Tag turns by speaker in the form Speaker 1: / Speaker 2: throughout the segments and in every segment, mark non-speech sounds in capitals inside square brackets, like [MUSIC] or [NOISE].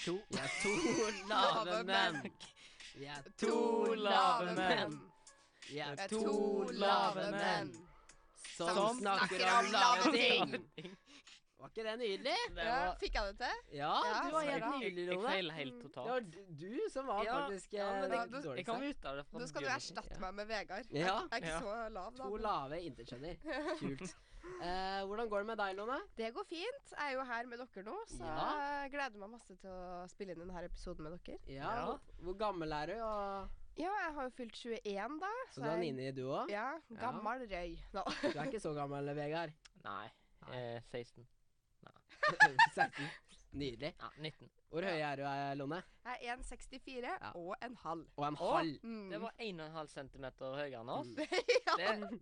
Speaker 1: to Vi er to [LAUGHS] lave menn. Vi er to lave menn. Vi er to lave menn som snakker om lave ting. [LAUGHS] Var ikke det nydelig?
Speaker 2: Det
Speaker 3: Ja,
Speaker 2: var
Speaker 3: fikk jeg det til?
Speaker 1: Ja, Mm.
Speaker 3: Ja,
Speaker 1: du var
Speaker 3: så
Speaker 1: helt
Speaker 3: bra.
Speaker 1: nydelig,
Speaker 2: Jeg
Speaker 1: Rone.
Speaker 2: feil helt
Speaker 1: Det
Speaker 2: totalt.
Speaker 1: var du som var
Speaker 2: Ja,
Speaker 1: faktisk
Speaker 2: ja,
Speaker 1: eh,
Speaker 2: men
Speaker 3: jeg-
Speaker 1: dårligst
Speaker 2: Jeg kom
Speaker 1: her.
Speaker 2: ut av det. fra
Speaker 3: Nå skal du
Speaker 2: begynnelsen.
Speaker 3: erstatte meg med Vegard. Jeg,
Speaker 1: Ja.
Speaker 3: jeg er ikke
Speaker 2: Ja.
Speaker 3: så lav, da.
Speaker 1: To
Speaker 3: men-
Speaker 1: lave interskjønner. [LAUGHS] Kult. Eh, hvordan går det med deg, Lone?
Speaker 3: Det går fint. Jeg er jo her med dere nå, så
Speaker 1: Ja.
Speaker 3: jeg gleder meg masse til å spille inn denne episoden med dere.
Speaker 1: Ja,
Speaker 2: Ja.
Speaker 1: Hvor gammel er du? Og,
Speaker 3: Ja, jeg har jo fylt 21, da.
Speaker 1: så du er
Speaker 3: jeg-
Speaker 1: Nini, du [LAUGHS] òg?
Speaker 3: Ja, gammel røy. Nå.
Speaker 1: Du er ikke så gammel, [LAUGHS] Vegard.
Speaker 2: Nei. Eh, 16.
Speaker 1: 16. Nydelig.
Speaker 2: Ja, 19.
Speaker 1: Hvor høy er du, eh, Lone?
Speaker 3: Jeg er 1,64
Speaker 1: Ja.
Speaker 3: og en halv.
Speaker 1: Og en
Speaker 2: Å.
Speaker 1: halv. Mm.
Speaker 3: Mm.
Speaker 2: Det var 1,5 cm høyere enn oss.
Speaker 3: [LAUGHS] ja.
Speaker 2: Det,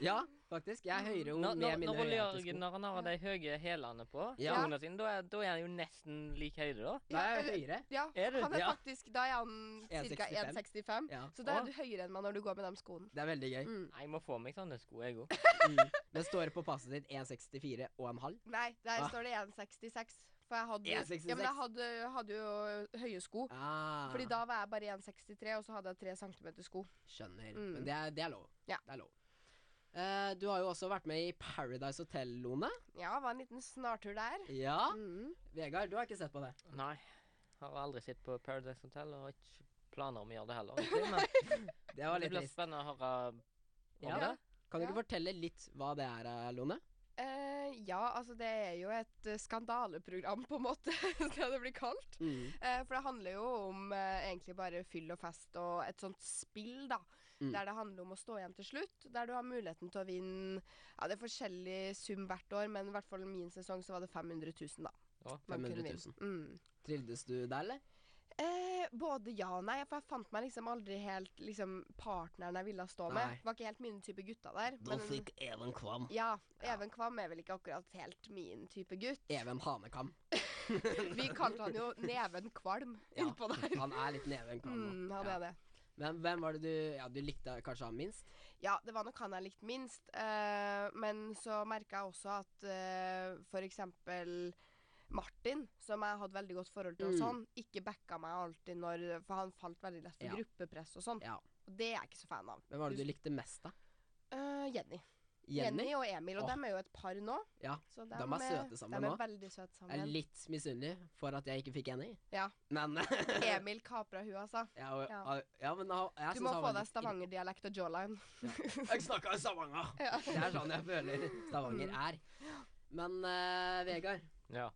Speaker 1: Ja, faktisk. Jeg er
Speaker 3: Mm.
Speaker 1: høyere
Speaker 2: når,
Speaker 1: med
Speaker 2: når,
Speaker 1: mine
Speaker 2: når, Ole
Speaker 1: høye
Speaker 2: Jørgen-
Speaker 1: ettesko.
Speaker 2: når han har de høye hælene på,
Speaker 1: Ja.
Speaker 2: skoene sine, da er, da er han jo nesten lik høyde, da.
Speaker 1: Da er jeg
Speaker 3: Ja,
Speaker 1: høyere.
Speaker 3: ja,
Speaker 2: Er du-
Speaker 3: han er
Speaker 1: ja.
Speaker 3: faktisk Da er han ca.
Speaker 1: 1,65.
Speaker 3: 1,65.
Speaker 1: Ja.
Speaker 3: Så da
Speaker 2: Å.
Speaker 3: er du høyere enn meg når du går med de skoene.
Speaker 1: Det er veldig gøy.
Speaker 3: Mm.
Speaker 2: Nei, Jeg må få meg sånne sko, jeg òg.
Speaker 1: Mm. Det står på passet ditt 1,64 og en halv.
Speaker 3: Nei, der
Speaker 1: Ah.
Speaker 3: står det 1,66. For jeg hadde, ja,
Speaker 1: 1,66.
Speaker 3: men jeg hadde, hadde jo høye sko.
Speaker 1: Ah,
Speaker 3: Fordi da var jeg bare 1,63, og så hadde jeg 3 cm sko.
Speaker 1: Skjønner.
Speaker 3: Mm.
Speaker 1: Men det er, det er lov.
Speaker 3: Ja.
Speaker 1: Det er lov. Eh, du har jo også vært med i Paradise Hotel, Lone.
Speaker 3: Ja, det var en liten snartur der.
Speaker 1: Ja.
Speaker 3: Mm.
Speaker 1: Vegard, du har ikke sett på det.
Speaker 2: Nei. Har aldri sett på Paradise Hotel og har ikke planer om å gjøre det heller. [LAUGHS] egentlig, Men
Speaker 1: Det var
Speaker 2: det
Speaker 1: litt
Speaker 2: blir
Speaker 1: trist.
Speaker 2: spennende å høre om
Speaker 1: Ja.
Speaker 2: det.
Speaker 1: Kan du
Speaker 3: Ja.
Speaker 1: ikke fortelle litt hva det er, eh, Lone?
Speaker 3: Eh, ja, altså det er jo et eh, skandaleprogram, på en måte, [LAUGHS] skal det bli kalt.
Speaker 1: Mm.
Speaker 3: Eh, for det handler jo om eh, egentlig bare fyll og fest og et sånt spill, da.
Speaker 1: Mm.
Speaker 3: Der det handler om å stå igjen til slutt. Der du har muligheten til å vinne Ja, det er forskjellig sum hvert år, men i hvert fall min sesong så var det 500 000, da.
Speaker 2: Ja,
Speaker 3: man kunne
Speaker 1: 500 000.
Speaker 3: vinne. Mm.
Speaker 1: Trivdes du der, eller?
Speaker 3: Eh, både ja og nei, for jeg fant meg liksom aldri helt liksom, partneren jeg ville stå med.
Speaker 1: Nei.
Speaker 3: Var ikke helt min type gutta der.
Speaker 1: Even Kvam.
Speaker 3: ja, Even Kvam er vel ikke akkurat helt min type gutt.
Speaker 1: Even Hanekam.
Speaker 3: Vi kalte han
Speaker 1: [LAUGHS]
Speaker 3: jo Neven Kvalm
Speaker 1: Ja,
Speaker 3: innpå der.
Speaker 1: Han er litt Neven Kvam. nå.
Speaker 3: Mm, han
Speaker 1: ja.
Speaker 3: er det.
Speaker 1: Hvem, hvem var det du Ja, du likte kanskje han minst?
Speaker 3: Ja, det var nok han jeg likte minst. eh, men så merka jeg også at eh, for eksempel Martin, som jeg hadde veldig godt forhold til, og
Speaker 1: Mm.
Speaker 3: sånn, ikke backa meg alltid når For han falt veldig lett for
Speaker 1: Ja.
Speaker 3: gruppepress og sånn.
Speaker 1: Ja.
Speaker 3: Og det er jeg ikke så fan av.
Speaker 1: Hvem var det du likte mest, da?
Speaker 3: Eh, Jenny. Jenny?
Speaker 1: Jenny?
Speaker 3: og Emil, og
Speaker 1: Åh.
Speaker 3: dem er jo et par nå.
Speaker 1: Ja.
Speaker 3: Så
Speaker 1: De er søte sammen
Speaker 3: de
Speaker 1: nå.
Speaker 3: er veldig søte
Speaker 1: Jeg er
Speaker 3: sammen.
Speaker 1: litt misunnelig for at jeg ikke fikk Jenny.
Speaker 3: Ja.
Speaker 1: Men [LAUGHS]
Speaker 3: Emil kapra hun, altså.
Speaker 1: ja, og-
Speaker 3: Ja.
Speaker 1: ja, men han- jeg
Speaker 3: Du
Speaker 1: synes
Speaker 3: må
Speaker 1: han
Speaker 3: få
Speaker 1: var
Speaker 3: deg
Speaker 1: litt irri-
Speaker 3: stavangerdialekt og jawline.
Speaker 1: [LAUGHS] Jeg snakker i Stavanger! Det er sånn jeg føler Stavanger
Speaker 3: Mm.
Speaker 1: er. Men eh, Vegard,
Speaker 2: Ja.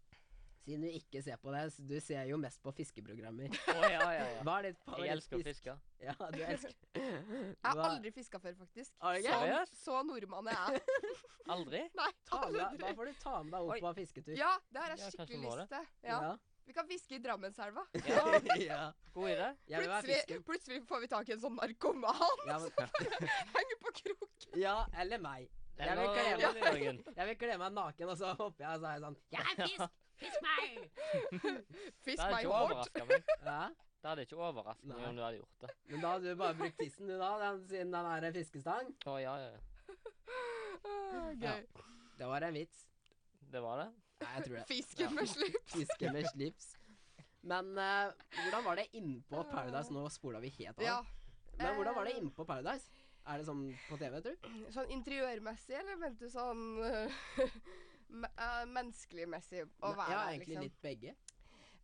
Speaker 1: siden du ikke ser på det, så du ser jo mest på fiskeprogrammer.
Speaker 2: Å, ja, ja, ja.
Speaker 1: Hva er ditt
Speaker 2: Jeg elsker å
Speaker 1: favorittfisk?
Speaker 2: fiske.
Speaker 1: Ja, du elsker
Speaker 3: [LAUGHS] Jeg
Speaker 1: [LAUGHS]
Speaker 3: har
Speaker 1: Hva-
Speaker 3: aldri fiska før, faktisk.
Speaker 1: Har du ikke?
Speaker 3: Så,
Speaker 2: Seriøst?
Speaker 3: så nordmann er jeg. [LAUGHS]
Speaker 2: Aldri?
Speaker 3: Nei,
Speaker 1: ta med, Da
Speaker 3: aldri.
Speaker 1: får du ta med deg
Speaker 2: Oi.
Speaker 1: opp på fisketur.
Speaker 3: Ja, det har
Speaker 2: Ja,
Speaker 3: jeg
Speaker 2: kanskje
Speaker 3: skikkelig lyst
Speaker 2: må det.
Speaker 3: til. Ja. Vi kan fiske i Drammenselva.
Speaker 2: Ja,
Speaker 1: [LAUGHS] ja.
Speaker 2: god idé.
Speaker 1: Jeg vil være
Speaker 3: Plutselig,
Speaker 1: fisken.
Speaker 3: plutselig får vi tak i en sånn narkoman
Speaker 1: Ja, men,
Speaker 3: som henger på krok.
Speaker 1: ja, eller meg. Jeg vil,
Speaker 2: Eller
Speaker 1: kle
Speaker 2: Ole Jørgen. [LAUGHS]
Speaker 1: meg, jeg vil kle meg naken, og så hopper jeg og så er jeg sånn Jeg er fisk! Fisk meg!
Speaker 3: Fisk
Speaker 2: Det hadde
Speaker 3: meg
Speaker 1: altså.
Speaker 2: ikke
Speaker 3: hårdt.
Speaker 2: overraska meg.
Speaker 1: Ja.
Speaker 2: Det hadde ikke overrasket meg
Speaker 1: Nei.
Speaker 2: om du hadde gjort det.
Speaker 1: Men da hadde du bare brukt tissen, du da, den, siden den er en fiskestang.
Speaker 2: Å, ja, ja, ja.
Speaker 3: Åh,
Speaker 1: Ja.
Speaker 3: Ah, Gøy.
Speaker 1: Det var en vits.
Speaker 2: Det var det.
Speaker 1: Nei, jeg tror det.
Speaker 3: Fisken med slips.
Speaker 1: Fiske med slips. Men eh, hvordan var det innpå Paradise? Nå spola vi helt av.
Speaker 3: Ja. eh,
Speaker 1: Men hvordan var det innpå Paradise? Er det sånn på TV, tror du?
Speaker 3: Sånn interiørmessig, eller mente du sånn [LAUGHS] me- eh, menneskeligmessig å være
Speaker 1: ja,
Speaker 3: der,
Speaker 1: egentlig
Speaker 3: liksom?
Speaker 1: litt begge.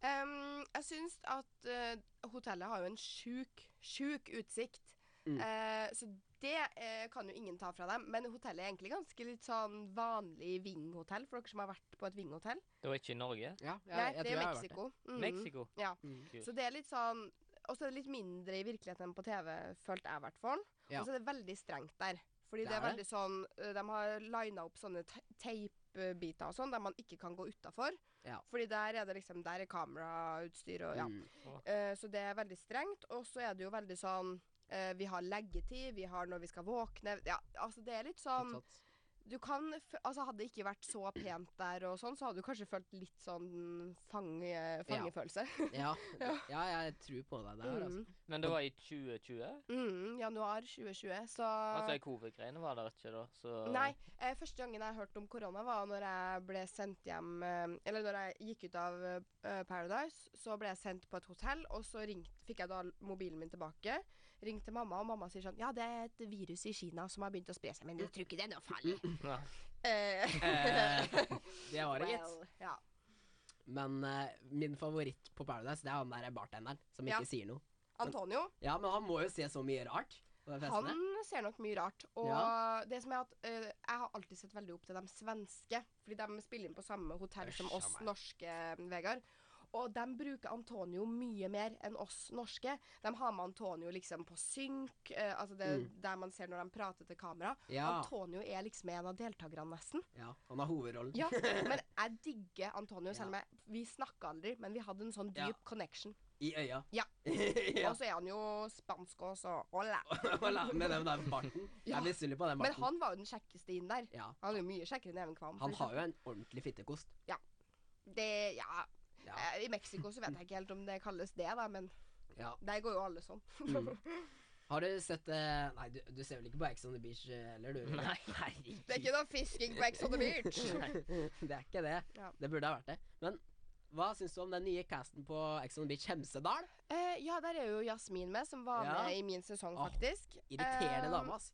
Speaker 3: Em, jeg syns at eh, hotellet har jo en sjuk, sjuk utsikt.
Speaker 1: Mm.
Speaker 3: Eh, så det eh, kan jo ingen ta fra dem. Men hotellet er egentlig ganske litt sånn vanlig vinghotell, for dere som har vært på et vinghotell.
Speaker 2: Det var ikke i Norge.
Speaker 1: Ja, jeg,
Speaker 3: Nei,
Speaker 1: jeg
Speaker 3: det
Speaker 1: tror
Speaker 3: er
Speaker 1: jeg har vært det.
Speaker 3: Mexico. Mm.
Speaker 2: Mexico.
Speaker 3: Ja.
Speaker 1: Mm.
Speaker 3: Så det er litt sånn Og så er det litt mindre i virkeligheten enn på TV, følte jeg i hvert fall.
Speaker 1: Ja.
Speaker 3: Og så er det veldig strengt der. Fordi det,
Speaker 1: Det
Speaker 3: er
Speaker 1: er
Speaker 3: veldig sånn eh, De har lina opp sånne te- teipbiter og sånn, der man ikke kan gå utafor.
Speaker 1: Ja.
Speaker 3: Fordi der er det liksom Der er kamerautstyr og ja.
Speaker 1: Mm.
Speaker 3: Eh, så det er veldig strengt. Og så er det jo veldig sånn eh, Vi har leggetid, vi har når vi skal våkne Ja, altså det er litt sånn
Speaker 1: Tatt.
Speaker 3: Du kan, f- altså Hadde det ikke vært så pent der, og sånn, så hadde du kanskje følt litt sånn fange, fangefølelse. [LAUGHS]
Speaker 1: Ja. ja, jeg tror på deg der, altså.
Speaker 3: Mm.
Speaker 2: Men det var i 2020?
Speaker 3: Mm, januar 2020, så
Speaker 2: Altså, i covid-greiene var der ikke da, så
Speaker 3: Nei. Eh, første gangen jeg hørte om korona, var når jeg ble sendt hjem eh, Eller når jeg gikk ut av eh, Paradise, så ble jeg sendt på et hotell, og så ringt, fikk jeg da mobilen min tilbake. Ringte mamma, og mamma sier sånn Ja, det er et virus i Kina som har begynt å spre seg, men jeg tror ikke det er noe farlig.
Speaker 2: Ja.
Speaker 3: Eh,
Speaker 1: Eh, [LAUGHS] det var det, gitt.
Speaker 3: [LAUGHS] well, ja.
Speaker 1: Men eh, min favoritt på Paradise, det er han der bartenderen som
Speaker 3: Ja.
Speaker 1: ikke sier noe.
Speaker 3: Antonio,
Speaker 1: Ja, men han må jo se så mye rart på den festen
Speaker 3: han
Speaker 1: der.
Speaker 3: ser nok mye rart. Og det som er at eh, jeg har alltid sett veldig opp til de svenske, fordi de spiller inn på samme hotell som
Speaker 1: Øsj,
Speaker 3: oss
Speaker 1: jammen.
Speaker 3: norske, mm, Vegard. Og de bruker Antonio mye mer enn oss norske. De har med Antonio liksom på synk, eh, altså det der man ser når de prater til kamera.
Speaker 1: Mm. Ja,
Speaker 3: Antonio er liksom en av deltakerne, nesten.
Speaker 1: ja, han har hovedrollen.
Speaker 3: Ja, Men jeg digger Antonio,
Speaker 1: Ja.
Speaker 3: selv om jeg, vi snakka aldri, men vi hadde en sånn
Speaker 1: Ja.
Speaker 3: dyp connection.
Speaker 1: I øya.
Speaker 3: Ja.
Speaker 1: [LAUGHS] ja.
Speaker 3: Og så er han jo spansk òg, så hola.
Speaker 1: Voilà, Med den der barten. Jeg
Speaker 3: Altså. [LAUGHS] Ja.
Speaker 1: er misunnelig på den
Speaker 3: Men
Speaker 1: barten.
Speaker 3: han var jo den kjekkeste inn der.
Speaker 1: ja.
Speaker 3: Han er jo mye kjekkere enn Even Kvam.
Speaker 1: han har jo en ordentlig fittekost.
Speaker 3: Det, ja.
Speaker 1: Ja.
Speaker 3: Eh, I Mexico så vet jeg ikke helt om det kalles det, da, men
Speaker 1: Ja.
Speaker 3: der går jo alle sånn.
Speaker 1: Mm. [LAUGHS] Har du sett eh, Nei, du, du ser vel ikke på Ex on the Beach eh, heller, du?
Speaker 2: Nei.
Speaker 3: Det er ikke noe fisking på Ex on the
Speaker 1: [LAUGHS]
Speaker 3: Beach!
Speaker 1: det er ikke det.
Speaker 3: Ja.
Speaker 1: Det burde ha vært det. Men hva syns du om den nye casten på Ex on the Beach Hemsedal?
Speaker 3: Eh, ja, der er jo Jasmin med, som var
Speaker 1: Ja.
Speaker 3: med i min sesong,
Speaker 1: Åh,
Speaker 3: faktisk.
Speaker 1: Irriterende
Speaker 3: Eh,
Speaker 1: dame, ass.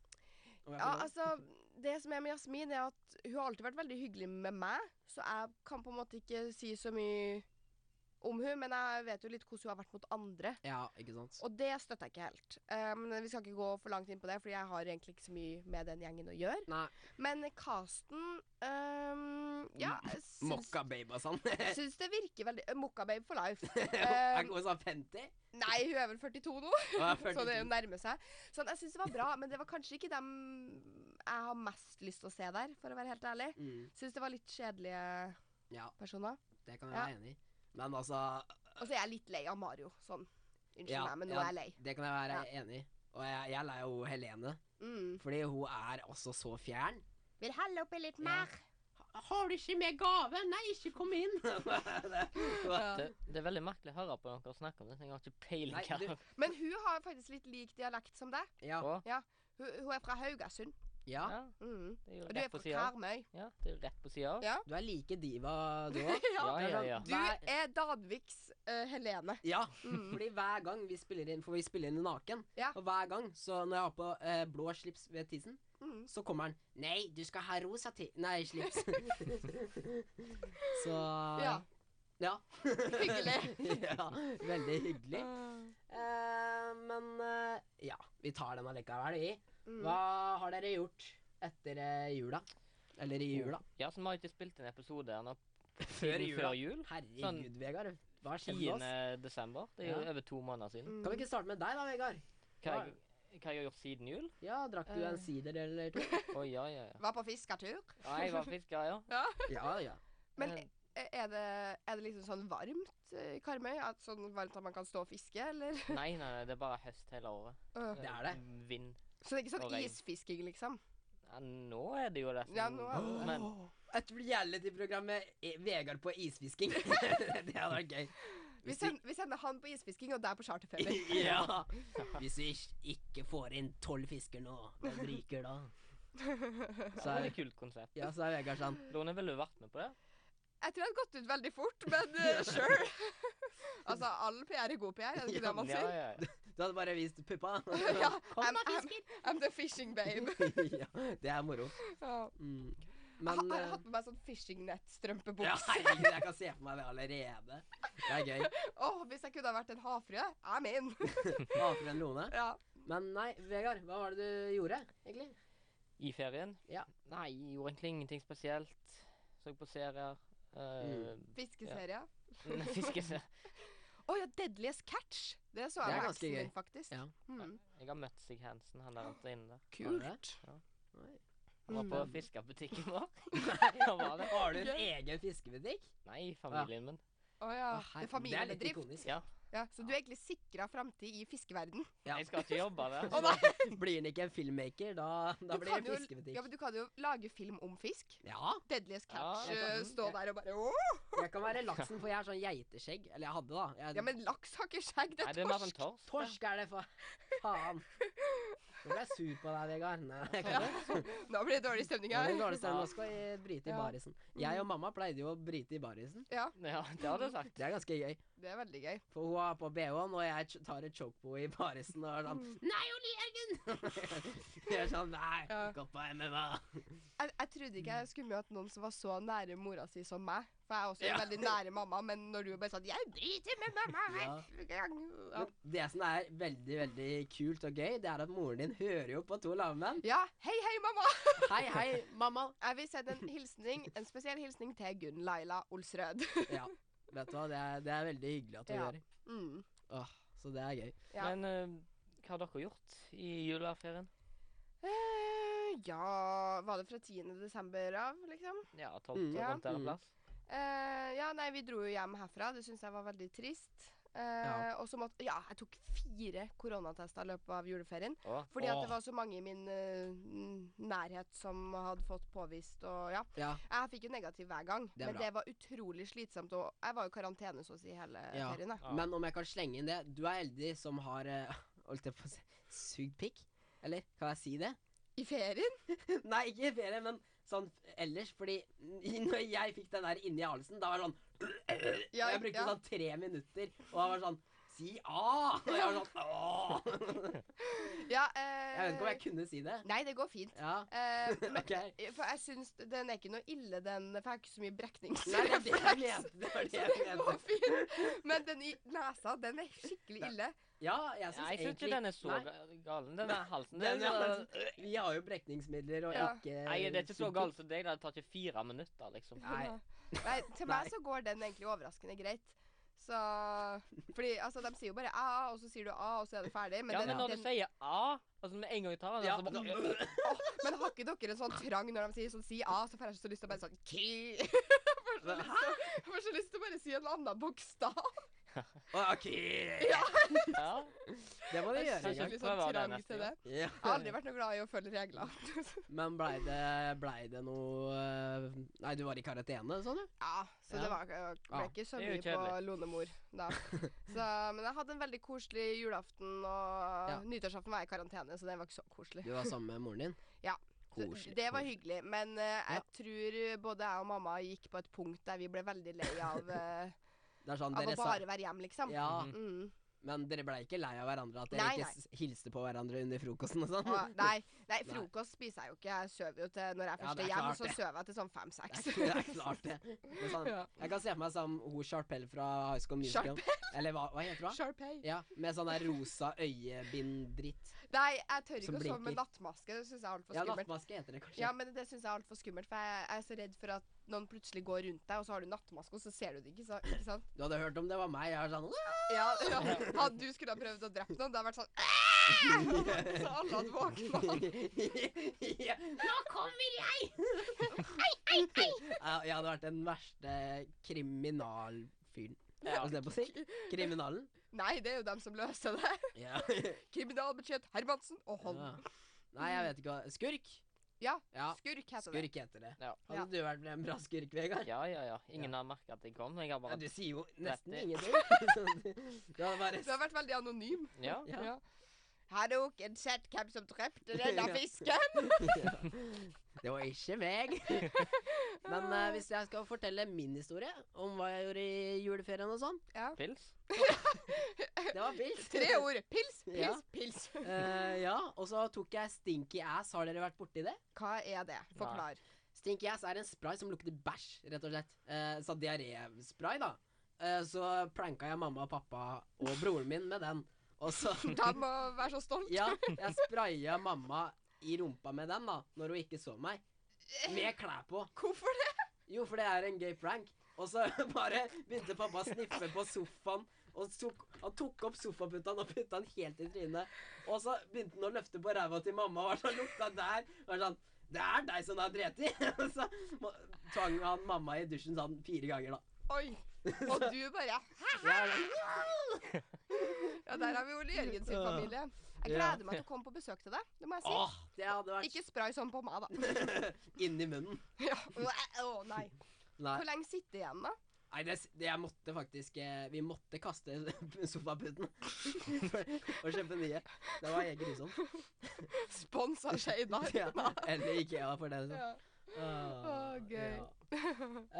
Speaker 1: Om jeg får
Speaker 3: Ja,
Speaker 1: lov.
Speaker 3: altså, det som er med Jasmin, er at hun har alltid vært veldig hyggelig med meg, så jeg kan på en måte ikke si så mye om hun, men jeg vet jo litt hvordan hun har vært mot andre.
Speaker 1: ja, ikke sant.
Speaker 3: Og det støtter jeg ikke helt. Eh, Men vi skal ikke gå for langt inn på det, Fordi jeg har egentlig ikke så mye med den gjengen å gjøre.
Speaker 1: Nei.
Speaker 3: Men casten ehm, Ja, jeg syns,
Speaker 1: Mokka babe og sånn.
Speaker 3: [LAUGHS]
Speaker 1: [LAUGHS]
Speaker 3: syns det virker veldig eh, Mokkababe for life.
Speaker 1: Er
Speaker 3: Ehm,
Speaker 1: ikke hun sånn 50?
Speaker 3: nei, hun er vel 42
Speaker 1: [LAUGHS]
Speaker 3: nå,
Speaker 1: Og er
Speaker 3: så det
Speaker 1: 42.
Speaker 3: nærmer seg. Sånn, jeg syns det var bra, men det var kanskje ikke dem jeg har mest lyst til å se der, for å være helt ærlig.
Speaker 1: Mm,
Speaker 3: Syns det var litt kjedelige
Speaker 1: ja,
Speaker 3: personer.
Speaker 1: det kan jeg
Speaker 3: Ja.
Speaker 1: være enig i. Men altså
Speaker 3: Og så er jeg litt lei av Mario. Sånn. Unnskyld
Speaker 1: ja,
Speaker 3: meg, men nå
Speaker 1: ja,
Speaker 3: er jeg lei.
Speaker 1: Det kan jeg være enig i. Og jeg, jeg er lei av hun Helene,
Speaker 3: Mm.
Speaker 1: fordi hun er altså så fjern.
Speaker 3: Vil helle oppi litt
Speaker 1: mer. Har du ikke med gave? Nei, ikke kom inn! [LAUGHS]
Speaker 3: Ja.
Speaker 2: Det, det er veldig merkelig å høre på dere snakke om dette. Jeg har ikke peiling
Speaker 1: Nei,
Speaker 2: hva
Speaker 1: du-
Speaker 3: Men hun har faktisk litt lik dialekt som deg.
Speaker 1: ja,
Speaker 2: på.
Speaker 3: Hun, hun er fra Haugesund.
Speaker 1: ja,
Speaker 2: Ja,
Speaker 3: Mm.
Speaker 2: det er jo
Speaker 3: Og du er
Speaker 2: rett på
Speaker 3: fra
Speaker 2: sida
Speaker 1: [LAUGHS]
Speaker 2: av.
Speaker 3: Karmøy.
Speaker 2: Ja, det er rett på sida av.
Speaker 3: Ja.
Speaker 1: du er like diva, du òg.
Speaker 2: Ja,
Speaker 1: det er
Speaker 2: ja,
Speaker 1: sant.
Speaker 2: ja.
Speaker 3: Du er Dadviks eh, Helene.
Speaker 1: Ja,
Speaker 3: Mm.
Speaker 2: [LAUGHS]
Speaker 1: fordi hver gang vi spiller inn, for vi spiller inn naken,
Speaker 3: Ja.
Speaker 1: og hver gang, så når jeg har på eh, blå slips ved tissen,
Speaker 3: Mm.
Speaker 1: så kommer han, nei, du skal ha rosa ti... Nei, slips. så...
Speaker 3: Ja.
Speaker 1: Ja.
Speaker 3: [LAUGHS] Hyggelig.
Speaker 1: [LAUGHS] ja, veldig hyggelig.
Speaker 2: Mm.
Speaker 1: Eh, men, eh, ja, vi tar den allikevel, vi.
Speaker 3: Mm.
Speaker 1: Hva har dere gjort etter eh, jula? Eller i jula?
Speaker 2: Ja, så vi har ikke spilt en episode her nå
Speaker 1: Før
Speaker 2: siden
Speaker 1: jula.
Speaker 2: før jul.
Speaker 1: Herregud,
Speaker 2: Sånn.
Speaker 1: Vegard. Hva har skjedd med
Speaker 2: 10.
Speaker 1: oss?
Speaker 2: desember. Det er jo
Speaker 1: Ja.
Speaker 2: over to måneder siden.
Speaker 3: Mm.
Speaker 1: Kan vi ikke starte med deg da, Vegard?
Speaker 2: Hva jeg, hva jeg har gjort siden jul?
Speaker 1: Ja, drakk du en sider eller [LAUGHS] to?
Speaker 2: Å, ja, ja, ja.
Speaker 3: Var på fisketur.
Speaker 2: Ja, jeg var fisker, ja.
Speaker 1: Ja, ja.
Speaker 3: Men
Speaker 2: Eh,
Speaker 3: eh, er det, er det liksom sånn varmt eh, i Karmøy? At sånn varmt at man kan stå og fiske, eller?
Speaker 2: Nei, nei, nei, det er bare høst hele året.
Speaker 3: Øh.
Speaker 1: Det er det.
Speaker 2: Vind.
Speaker 3: Så det er ikke
Speaker 2: Og
Speaker 3: sånn
Speaker 2: regn.
Speaker 3: isfisking, liksom?
Speaker 2: Ja, nå er det jo nesten
Speaker 3: Ja, nå er det
Speaker 1: Åh,
Speaker 2: Men
Speaker 1: Et reality-program med E- Vegard på isfisking. [LAUGHS] det hadde vært gøy.
Speaker 3: Vi
Speaker 1: Hvis vi,
Speaker 3: sender, vi sender han på isfisking, og deg på charterferie.
Speaker 2: [LAUGHS]
Speaker 1: ja. [LAUGHS] Hvis vi ikke får inn tolv fisker nå, hvem ryker da?
Speaker 3: [GASPS]
Speaker 2: ja,
Speaker 1: Så er,
Speaker 2: veldig kult konsept.
Speaker 1: ja, så er Vegard sånn.
Speaker 2: Lone, ville du vært med på det?
Speaker 3: Jeg tror jeg hadde gått ut veldig fort, men
Speaker 2: [LAUGHS]
Speaker 3: uh, sure. [LAUGHS] altså, all PR er god PR, er det ikke det man
Speaker 2: Ja,
Speaker 3: sier?
Speaker 2: ja, ja.
Speaker 1: Du hadde bare vist puppa. [LAUGHS]
Speaker 3: Ja, I'm,
Speaker 1: Kom da,
Speaker 3: I'm, I'm the fishing
Speaker 1: [LAUGHS]
Speaker 3: babe.
Speaker 1: fisker. ja, det er moro.
Speaker 3: Ja.
Speaker 1: Mm.
Speaker 3: Jeg
Speaker 1: Men
Speaker 3: har, har
Speaker 1: eh,
Speaker 3: hatt på meg sånn fishing-nett-strømpebukse.
Speaker 1: ja, herregud, jeg kan se for meg det allerede. Det er gøy.
Speaker 3: Åh, hvis jeg kunne ha vært en havfrue, I'm in!
Speaker 1: [LAUGHS] Hater en Lone.
Speaker 3: ja.
Speaker 1: Men nei, Vegard, hva var det du gjorde, egentlig?
Speaker 2: I ferien?
Speaker 1: [LAUGHS] Ja.
Speaker 2: Nei, jeg gjorde egentlig ingenting spesielt. Så på serier. Uh,
Speaker 3: [LAUGHS] Fiskeserie. Åh,
Speaker 2: [LAUGHS] Fiskese.
Speaker 3: ja, Deadliest Catch! Det så
Speaker 1: Det
Speaker 3: jeg
Speaker 1: er
Speaker 3: på
Speaker 1: ganske
Speaker 3: eksen min,
Speaker 1: gøy.
Speaker 3: faktisk.
Speaker 1: Ja.
Speaker 3: Mm.
Speaker 2: Jeg har møtt Sig Hansen, han der ute inne der.
Speaker 1: Kult.
Speaker 2: Han var på
Speaker 1: Mm.
Speaker 2: fiskerbutikken
Speaker 3: [LAUGHS]
Speaker 2: vår. han var det.
Speaker 1: Har du en
Speaker 3: Gøy.
Speaker 1: egen fiskebutikk?
Speaker 2: Nei, familien min.
Speaker 3: Å
Speaker 1: Å,
Speaker 3: ja. Det
Speaker 1: herregud,
Speaker 3: er familiebedrift.
Speaker 1: ikonisk.
Speaker 2: Ja,
Speaker 3: Ja, så du er egentlig sikra framtid i fiskeverden.
Speaker 1: Ja.
Speaker 2: Jeg skal ikke jobbe der.
Speaker 3: Å,
Speaker 1: Blir han ikke en filmmaker, da, da
Speaker 3: Du
Speaker 1: blir
Speaker 3: kan
Speaker 1: det
Speaker 3: jo-
Speaker 1: fiskebutikk.
Speaker 3: Ja, men du kan jo lage film om fisk.
Speaker 1: Ja,
Speaker 3: Deadliest catch.
Speaker 2: Ja, jeg
Speaker 1: kan-
Speaker 3: eh, stå der og bare Åh!
Speaker 1: jeg kan være laksen, for jeg har sånn geiteskjegg. Eller jeg hadde, da. Jeg,
Speaker 3: Ja, men laks har ikke skjegg, det
Speaker 2: Nei,
Speaker 3: er
Speaker 2: det er mer sånn
Speaker 3: torsk.
Speaker 2: torsk.
Speaker 1: Torsk er det, fa faen. Nå ble jeg sur på deg, Vegard. Nei, jeg
Speaker 3: Ja.
Speaker 1: kan ikke.
Speaker 3: Nå blir det dårlig stemning
Speaker 1: Det var
Speaker 3: her.
Speaker 1: den dårligste
Speaker 2: Ja.
Speaker 1: Nå skal jeg bryte i
Speaker 3: Ja.
Speaker 1: barisen. Jeg og mamma pleide jo å bryte i barisen.
Speaker 2: Ja, det hadde jeg sagt.
Speaker 1: Det er ganske gøy.
Speaker 3: Det er veldig gøy.
Speaker 1: For hun har på BH-en, og jeg ch- tar et choco i barisen og er sånn
Speaker 3: Mm.
Speaker 1: Nei, Ole Jørgen! [LAUGHS] jeg er sånn Nei,
Speaker 3: Ja.
Speaker 1: gå på MMA.
Speaker 3: Jeg, jeg trodde ikke jeg skulle møte noen som var så nære mora si som meg. For jeg er også
Speaker 1: Ja.
Speaker 3: veldig nære mamma, men når du bare sa 'jeg driter med mamma'
Speaker 1: Ja.
Speaker 3: hver gang ja.
Speaker 1: Men det som er veldig, veldig kult og gøy, det er at moren din hører jo på to lave menn.
Speaker 3: ja, hei, hei, mamma!
Speaker 1: Hei, hei, mamma.
Speaker 3: [LAUGHS] Jeg vil sende en hilsning, en spesiell hilsning til Gunn Laila Olsrød. [LAUGHS]
Speaker 1: Ja, vet du hva, det er, det er veldig hyggelig at hun
Speaker 3: Ja.
Speaker 1: gjør.
Speaker 3: Mm.
Speaker 1: Åh, så det er gøy.
Speaker 3: Ja.
Speaker 2: Men eh, hva har dere gjort i juleferien?
Speaker 3: Eh, ja Var det fra 10. desember av, liksom?
Speaker 2: Ja, 12 og
Speaker 3: Ja.
Speaker 2: rundt der
Speaker 1: Mm.
Speaker 2: en plass.
Speaker 3: Eh, ja, nei, vi dro jo hjem herfra. Det syns jeg var veldig trist. Eh,
Speaker 1: Ja.
Speaker 3: Og så måtte Ja, jeg tok fire koronatester i løpet av juleferien.
Speaker 2: Å,
Speaker 3: Fordi at
Speaker 1: Åh.
Speaker 3: det var så mange i min eh, n- nærhet som hadde fått påvist og ja.
Speaker 1: Ja,
Speaker 3: Jeg fikk jo negativ hver gang,
Speaker 1: Det er
Speaker 3: men
Speaker 1: bra.
Speaker 3: det var utrolig slitsomt. Og jeg var jo i karantene så å si hele
Speaker 1: Ja.
Speaker 3: ferien. jeg.
Speaker 2: Ja.
Speaker 1: Men om jeg kan slenge inn det, du er heldig som har eh, [LAUGHS] Holdt jeg på å si Sugd pikk? Eller kan jeg si det? [LAUGHS]
Speaker 3: I ferien?
Speaker 1: Nei, ikke i ferie, men sånn ellers. Fordi [LAUGHS] i- når jeg fikk den der inni halsen, da var det sånn
Speaker 3: Ja,
Speaker 1: Jeg brukte
Speaker 3: ja.
Speaker 1: sånn tre minutter, og da var det sånn Si A! Og jeg var
Speaker 3: [LAUGHS]
Speaker 1: sånn «Åh!»
Speaker 3: Ja,
Speaker 1: Jeg vet ikke om jeg
Speaker 3: eh,
Speaker 1: kunne si det.
Speaker 3: Nei, det går fint.
Speaker 1: Ja,
Speaker 3: [LAUGHS]
Speaker 1: [LAUGHS]
Speaker 3: Eh, men,
Speaker 1: ok.
Speaker 3: for jeg syns den er ikke noe ille, den. For jeg har ikke så mye
Speaker 1: Nei, det er det jeg
Speaker 3: [LAUGHS] brekningsrefleks.
Speaker 1: mente. Det var det
Speaker 3: Så
Speaker 1: jeg
Speaker 3: det går
Speaker 1: mente.
Speaker 3: fint. Men den i nesa, den er skikkelig ille.
Speaker 1: Ja, jeg syns
Speaker 2: Nei, jeg syns ikke den er så ga- galen, den der
Speaker 1: Den,
Speaker 2: halsen. Den,
Speaker 1: ja,
Speaker 2: er-
Speaker 1: men sånn, øh, vi har jo brekningsmidler og
Speaker 3: Ja.
Speaker 1: ikke
Speaker 2: nei, det er ikke så
Speaker 1: sugd pikk.
Speaker 2: galt som deg. da. Det tar ikke fire minutter, liksom.
Speaker 1: Nei.
Speaker 3: [LAUGHS] Nei, til meg
Speaker 1: Nei.
Speaker 3: så går den egentlig overraskende greit. Så Fordi altså, de sier jo bare A, og så sier du A, og så er det ferdig. Men,
Speaker 2: ja,
Speaker 3: den,
Speaker 2: men når
Speaker 3: den,
Speaker 2: du sier A, altså med en gang jeg tar den,
Speaker 1: Ja,
Speaker 2: så bare
Speaker 1: da-
Speaker 3: men har ikke dere en sånn trang når de sier sånn si A, så får jeg så lyst til å bare sånn Ki! Jeg får så lyst til- jeg får så lyst til å bare si en annen bokstav.
Speaker 1: Å, OK!
Speaker 2: ja.
Speaker 1: Det må du
Speaker 3: Jeg
Speaker 1: gjøre
Speaker 3: har
Speaker 1: en gang.
Speaker 3: skikkelig
Speaker 2: Prøv å ha
Speaker 3: sånn
Speaker 2: det
Speaker 3: trang
Speaker 2: neste
Speaker 3: til det.
Speaker 2: gang.
Speaker 1: Ja.
Speaker 3: Jeg har aldri vært noe glad i å følge regler.
Speaker 1: Men blei det, blei det noe eh, Nei, du var i karantene, sånn, ja?
Speaker 3: [LAUGHS] Ja, så
Speaker 1: Ja.
Speaker 3: det var, jeg ble
Speaker 1: Ja,
Speaker 3: ikke så
Speaker 2: det er jo
Speaker 3: mye på
Speaker 2: kjedelig.
Speaker 3: lonemor da. Så, men jeg hadde en veldig koselig julaften, og
Speaker 1: Ja.
Speaker 3: nyttårsaften var jeg i karantene, så det var ikke så koselig.
Speaker 1: Du var sammen med moren din?
Speaker 3: [LAUGHS] Ja. Så
Speaker 1: Koselig.
Speaker 3: det var
Speaker 1: koselig.
Speaker 3: hyggelig, men eh, jeg tror eh, både jeg og mamma gikk på et punkt der vi ble veldig lei
Speaker 1: [LAUGHS]
Speaker 3: av, eh,
Speaker 1: Det er sånn,
Speaker 3: av
Speaker 1: dere
Speaker 3: å
Speaker 1: sa
Speaker 3: bare være hjemme, liksom.
Speaker 1: Ja,
Speaker 2: Mhm.
Speaker 3: Mm.
Speaker 1: men dere blei ikke lei av hverandre? At dere
Speaker 3: Nei,
Speaker 1: ikke s- hilste på hverandre under frokosten og sånn?
Speaker 3: Og, nei, nei,
Speaker 1: Nei.
Speaker 3: frokost spiser jeg jo ikke. Jeg sover jo til Når
Speaker 1: Ja,
Speaker 3: jeg først
Speaker 1: det
Speaker 3: er
Speaker 1: er
Speaker 3: hjemme,
Speaker 1: klart
Speaker 3: så
Speaker 1: det.
Speaker 3: sover jeg til sånn
Speaker 1: [LAUGHS]
Speaker 3: fem-seks.
Speaker 1: Det er, det er klart, det. Men sånn,
Speaker 3: [LAUGHS] Ja.
Speaker 1: Jeg kan se for meg som hun Sharpell fra High School Musical. Eller hva, hva heter hun?
Speaker 3: Sharpay.
Speaker 1: Ja, Med sånn der rosa øyebind-dritt.
Speaker 3: Nei, jeg tør
Speaker 1: Som
Speaker 3: ikke å sove med
Speaker 1: blinker.
Speaker 3: nattmaske. Det syns jeg er altfor
Speaker 1: Ja,
Speaker 3: skummelt.
Speaker 1: nattmaske heter det kanskje.
Speaker 3: Ja, men det syns jeg er altfor skummelt, for jeg er så redd for at noen plutselig går rundt deg, og så har du nattmaske, og så ser du det ikke, så, ikke sant?
Speaker 1: Du hadde hørt om det var meg. Jeg var sånn «Åh!»
Speaker 3: Ja, [LAUGHS] ja. Hadde du skulle ha prøvd å drepe noen, det hadde vært
Speaker 1: [LAUGHS]
Speaker 3: sånn «Æ!» [LAUGHS] Så alle hadde våkna.
Speaker 1: Ja. Nå kommer jeg! Ja, Jeg hadde vært den verste kriminalfyren.
Speaker 2: Ja.
Speaker 1: Hva skal jeg på å si? Kriminalen?
Speaker 3: Nei, det er jo dem som løser det.
Speaker 1: Ja.
Speaker 3: Kriminalbudsjett Hermansen og Holm.
Speaker 1: Nei, jeg vet ikke hva Skurk?
Speaker 3: Ja,
Speaker 1: Ja,
Speaker 3: skurk heter det.
Speaker 1: skurk heter det.
Speaker 2: Ja.
Speaker 1: Hadde du vært en bra skurk, Vegard?
Speaker 2: ja, ja, ja. Ingen har merket at jeg kom. Jeg har
Speaker 1: Ja,
Speaker 2: bare
Speaker 1: du sier jo nesten
Speaker 2: Dette-
Speaker 1: ingenting. [LAUGHS] Du hadde bare
Speaker 3: Du har vært veldig anonym.
Speaker 2: Ja.
Speaker 1: Ja.
Speaker 3: Har dere sett hvem som drepte denne fisken?
Speaker 1: Det var ikke meg. Men eh, hvis jeg skal fortelle min historie om hva jeg gjorde i juleferien og sånn
Speaker 2: Pils.
Speaker 1: Det var pils.
Speaker 3: [LAUGHS] Tre ord. Pils,
Speaker 1: Ja.
Speaker 3: pils, pils.
Speaker 1: Eh, ja, og så tok jeg Stinky Ass. Har dere vært borti det?
Speaker 3: Hva er det? Forklar.
Speaker 1: Stinky Ass er en spray som lukter bæsj, rett og slett. Eh, så diaréspray, da. Eh, så planka jeg mamma og pappa og broren min med den. Og så
Speaker 3: De må være så stolt.
Speaker 1: Ja, jeg spraya mamma i rumpa med den, da, når hun ikke så meg. Med klær på.
Speaker 3: Hvorfor det?
Speaker 1: Jo, for det er en gøy prank. Og så [LAUGHS] bare begynte pappa å sniffe på sofaen. Og tok, han tok opp sofaputa og putta den helt i trynet. Og så begynte han å løfte på ræva til mamma og var sånn lukta der. Og var sånn [LAUGHS] Det er deg som har drept i! Og så må- tvang han mamma i dusjen sånn fire ganger, da.
Speaker 3: Oi. Og du bare
Speaker 2: Ja, det-
Speaker 3: Ja, der har vi Ole Jørgen sin familie. Jeg
Speaker 2: Ja.
Speaker 3: gleder meg til å komme på besøk til deg. Det må jeg si.
Speaker 1: Åh, det hadde vært
Speaker 3: Ikke spray sånn på meg, da.
Speaker 1: inni munnen.
Speaker 3: Ja. Å nei.
Speaker 1: Nei,
Speaker 3: Hvor lenge sitter jeg igjen, da?
Speaker 1: Nei det, s- det, jeg måtte faktisk eh, Vi måtte kaste [LAUGHS] sofaputen og kjøpe nye. Det var helt grusomt.
Speaker 3: Spons av Shadar.
Speaker 1: Ja, Eller Ikea, for det.
Speaker 3: Ja.
Speaker 1: Åh,
Speaker 3: Åh, gøy.
Speaker 1: Ah,
Speaker 3: [LAUGHS]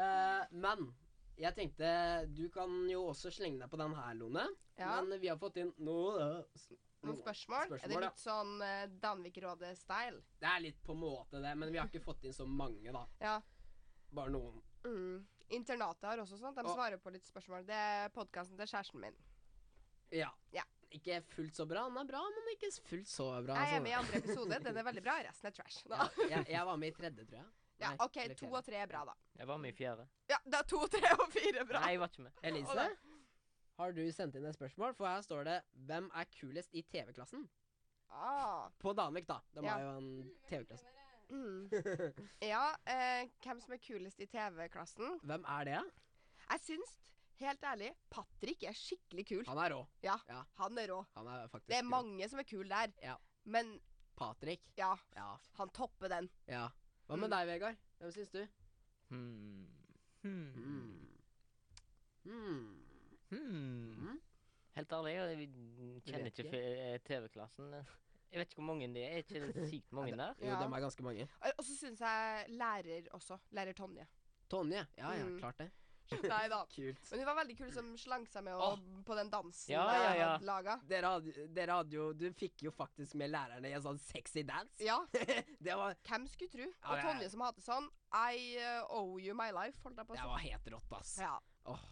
Speaker 1: Eh, men jeg tenkte du kan jo også slenge deg på den her, Lone.
Speaker 3: Ja.
Speaker 1: Men vi har fått inn noe
Speaker 3: Noen spørsmål?
Speaker 1: Mm.
Speaker 3: Er det
Speaker 1: Spørsmål, ja.
Speaker 3: litt sånn eh, Danvik-rådet-style?
Speaker 1: Det er litt på en måte, det, men vi har ikke fått inn så mange, da.
Speaker 3: Ja.
Speaker 1: Bare noen.
Speaker 3: Mm. Internatet har også sånt. De
Speaker 1: Å.
Speaker 3: svarer på litt spørsmål. Det er podkasten til kjæresten min.
Speaker 1: Ja.
Speaker 3: Ja.
Speaker 1: Ikke fullt så bra. Den er bra, men ikke fullt så bra.
Speaker 3: Jeg
Speaker 1: altså.
Speaker 3: er med i andre episode. Den er veldig bra. Resten er trash.
Speaker 1: ja,
Speaker 3: Da.
Speaker 1: jeg, jeg var med i tredje, tror jeg.
Speaker 3: Ja,
Speaker 1: Nei,
Speaker 3: OK,
Speaker 1: eller
Speaker 3: to
Speaker 1: fjerde.
Speaker 3: og tre er bra, da.
Speaker 2: Jeg var med i fjerde.
Speaker 3: Ja, det er to, tre og fire er bra.
Speaker 2: Nei, jeg var ikke med.
Speaker 1: Elise,
Speaker 3: Å,
Speaker 1: har du sendt inn et spørsmål? For her står det 'Hvem er kulest i TV-klassen?'
Speaker 3: Ah.
Speaker 1: På Danvik, da. De
Speaker 3: Ja.
Speaker 1: har jo en [LAUGHS] TV-klasse.
Speaker 3: Mm. [LAUGHS] Ja, eh, hvem som er kulest i TV-klassen?
Speaker 1: Hvem er det?
Speaker 3: Jeg syns, helt ærlig, Patrick er skikkelig kul.
Speaker 1: Han er rå.
Speaker 3: Han er rå.
Speaker 1: Han er faktisk
Speaker 3: Det er
Speaker 1: rå.
Speaker 3: mange som er kule der.
Speaker 1: Ja.
Speaker 3: Men
Speaker 1: Patrick.
Speaker 3: ja,
Speaker 1: Ja.
Speaker 3: han topper den.
Speaker 1: ja. Hva med
Speaker 3: Mm.
Speaker 1: deg, Vegard? Hvem syns du?
Speaker 2: Hmm. Hmm.
Speaker 3: Mm.
Speaker 1: Hmm.
Speaker 2: Hmm.
Speaker 1: Mm.
Speaker 2: Helt ærlig, jeg vi kjenner
Speaker 1: vet
Speaker 2: ikke fe- eh, TV-klassen. Jeg vet ikke hvor mange det er. Er ikke det sykt mange der?
Speaker 1: Jo,
Speaker 3: Ja.
Speaker 1: dem er ganske mange.
Speaker 3: Og- Og så syns jeg lærer også. Lærer Tonje.
Speaker 1: Tonje. Ja ja,
Speaker 3: Mm.
Speaker 1: klart det.
Speaker 3: Nei da.
Speaker 1: Kult.
Speaker 3: Men hun var veldig kul som slang seg med og, på den dansen
Speaker 2: Ja,
Speaker 3: jeg
Speaker 2: ja, ja.
Speaker 3: hadde laga.
Speaker 1: Dere hadde, dere hadde jo Du fikk jo faktisk med lærerne i en sånn sexy dance.
Speaker 3: Ja,
Speaker 1: det, var,
Speaker 3: hvem skulle tro?
Speaker 1: Ja,
Speaker 3: Og
Speaker 1: det er-
Speaker 3: Tonje som hater sånn. I uh, owe you my life, holdt jeg på å
Speaker 1: det
Speaker 3: si.
Speaker 1: var helt rått, ass.
Speaker 3: Ja.
Speaker 1: Åh.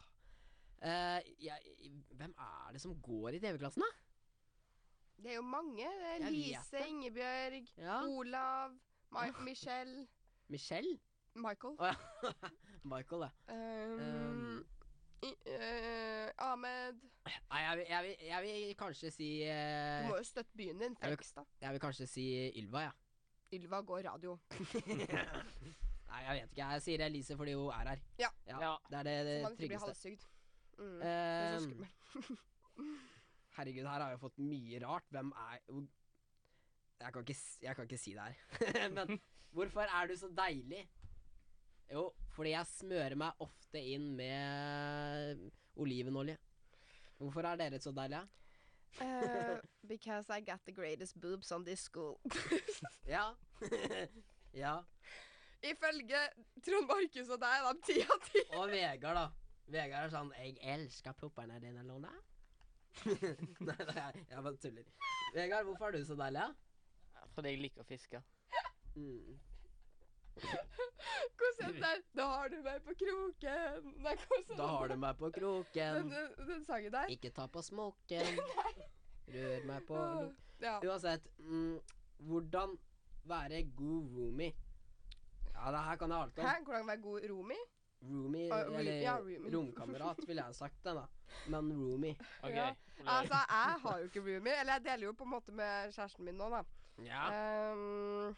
Speaker 1: Eh, jeg, hvem er det som går i TV-klassen, da?
Speaker 3: Det er jo mange. Det er
Speaker 1: Jeg vet
Speaker 3: Lise,
Speaker 1: det.
Speaker 3: Ingebjørg,
Speaker 1: Ja.
Speaker 3: Olav, Ma Michelle,
Speaker 1: Michelle?
Speaker 3: Michael.
Speaker 1: Å ja. Michael, ja.
Speaker 3: Um,
Speaker 1: Um,
Speaker 3: i, eh, Ahmed.
Speaker 1: Nei, jeg vil, jeg, vil, jeg vil kanskje si
Speaker 3: Du
Speaker 1: eh,
Speaker 3: må jo støtte byen din.
Speaker 1: jeg vil-
Speaker 3: Flex, da.
Speaker 1: Jeg vil kanskje si Ylva, ja.
Speaker 3: Ylva går radio.
Speaker 1: Nei, jeg vet ikke. Jeg sier Elise fordi hun er her.
Speaker 3: Ja.
Speaker 1: ja.
Speaker 2: Ja.
Speaker 1: Det er det, det
Speaker 3: Så man ikke blir
Speaker 1: Eh, tryggeste.
Speaker 3: halshugd. Mm. Det er så
Speaker 1: Eh,
Speaker 3: skummelt.
Speaker 1: herregud, her har jeg fått mye rart. Hvem er hvor- jeg kan, ikke, s- jeg kan ikke si det her. [LAUGHS] Men hvorfor er du så deilig? Jo, fordi jeg smører meg ofte inn med olivenolje. Hvorfor er dere så deilige?
Speaker 3: [LAUGHS] Eh, because I got the greatest boobs on this [LAUGHS] school.
Speaker 1: Ja. [LAUGHS] ja.
Speaker 3: Ifølge Trond Markus og deg, de ti av ti.
Speaker 1: Og Vegard, da. Vegard er sånn 'Jeg elsker puppene dine, Lone'. [LAUGHS] nei, nei, jeg- jeg bare tuller.
Speaker 3: [LAUGHS]
Speaker 1: Vegard, hvorfor er du så deilig? da?
Speaker 2: Fordi jeg liker å fiske.
Speaker 1: Mm.
Speaker 3: Hvordan der? Da har du meg på kroken. Nei, hvordan
Speaker 1: Da har du meg på
Speaker 3: den, [LAUGHS]
Speaker 1: kroken.
Speaker 3: den, den sangen der.
Speaker 1: Ikke ta på
Speaker 3: [LAUGHS]
Speaker 1: smokken. Rør meg på
Speaker 3: Åh, Ja.
Speaker 1: Uansett, mm, hvordan være god roomie? Ja, det her kan jeg alt om.
Speaker 3: Hæ? Hvordan være god roomie?
Speaker 1: Roomie,
Speaker 3: Ah, room-
Speaker 1: eller
Speaker 3: ja, roomie.
Speaker 1: romkamerat, ville jeg sagt det, da. Men roomie.
Speaker 2: OK.
Speaker 3: Ja.
Speaker 2: Olav.
Speaker 3: Altså, jeg har jo ikke roomie. Eller jeg deler jo på en måte med kjæresten min nå, da.
Speaker 1: Ja.
Speaker 3: Ehm,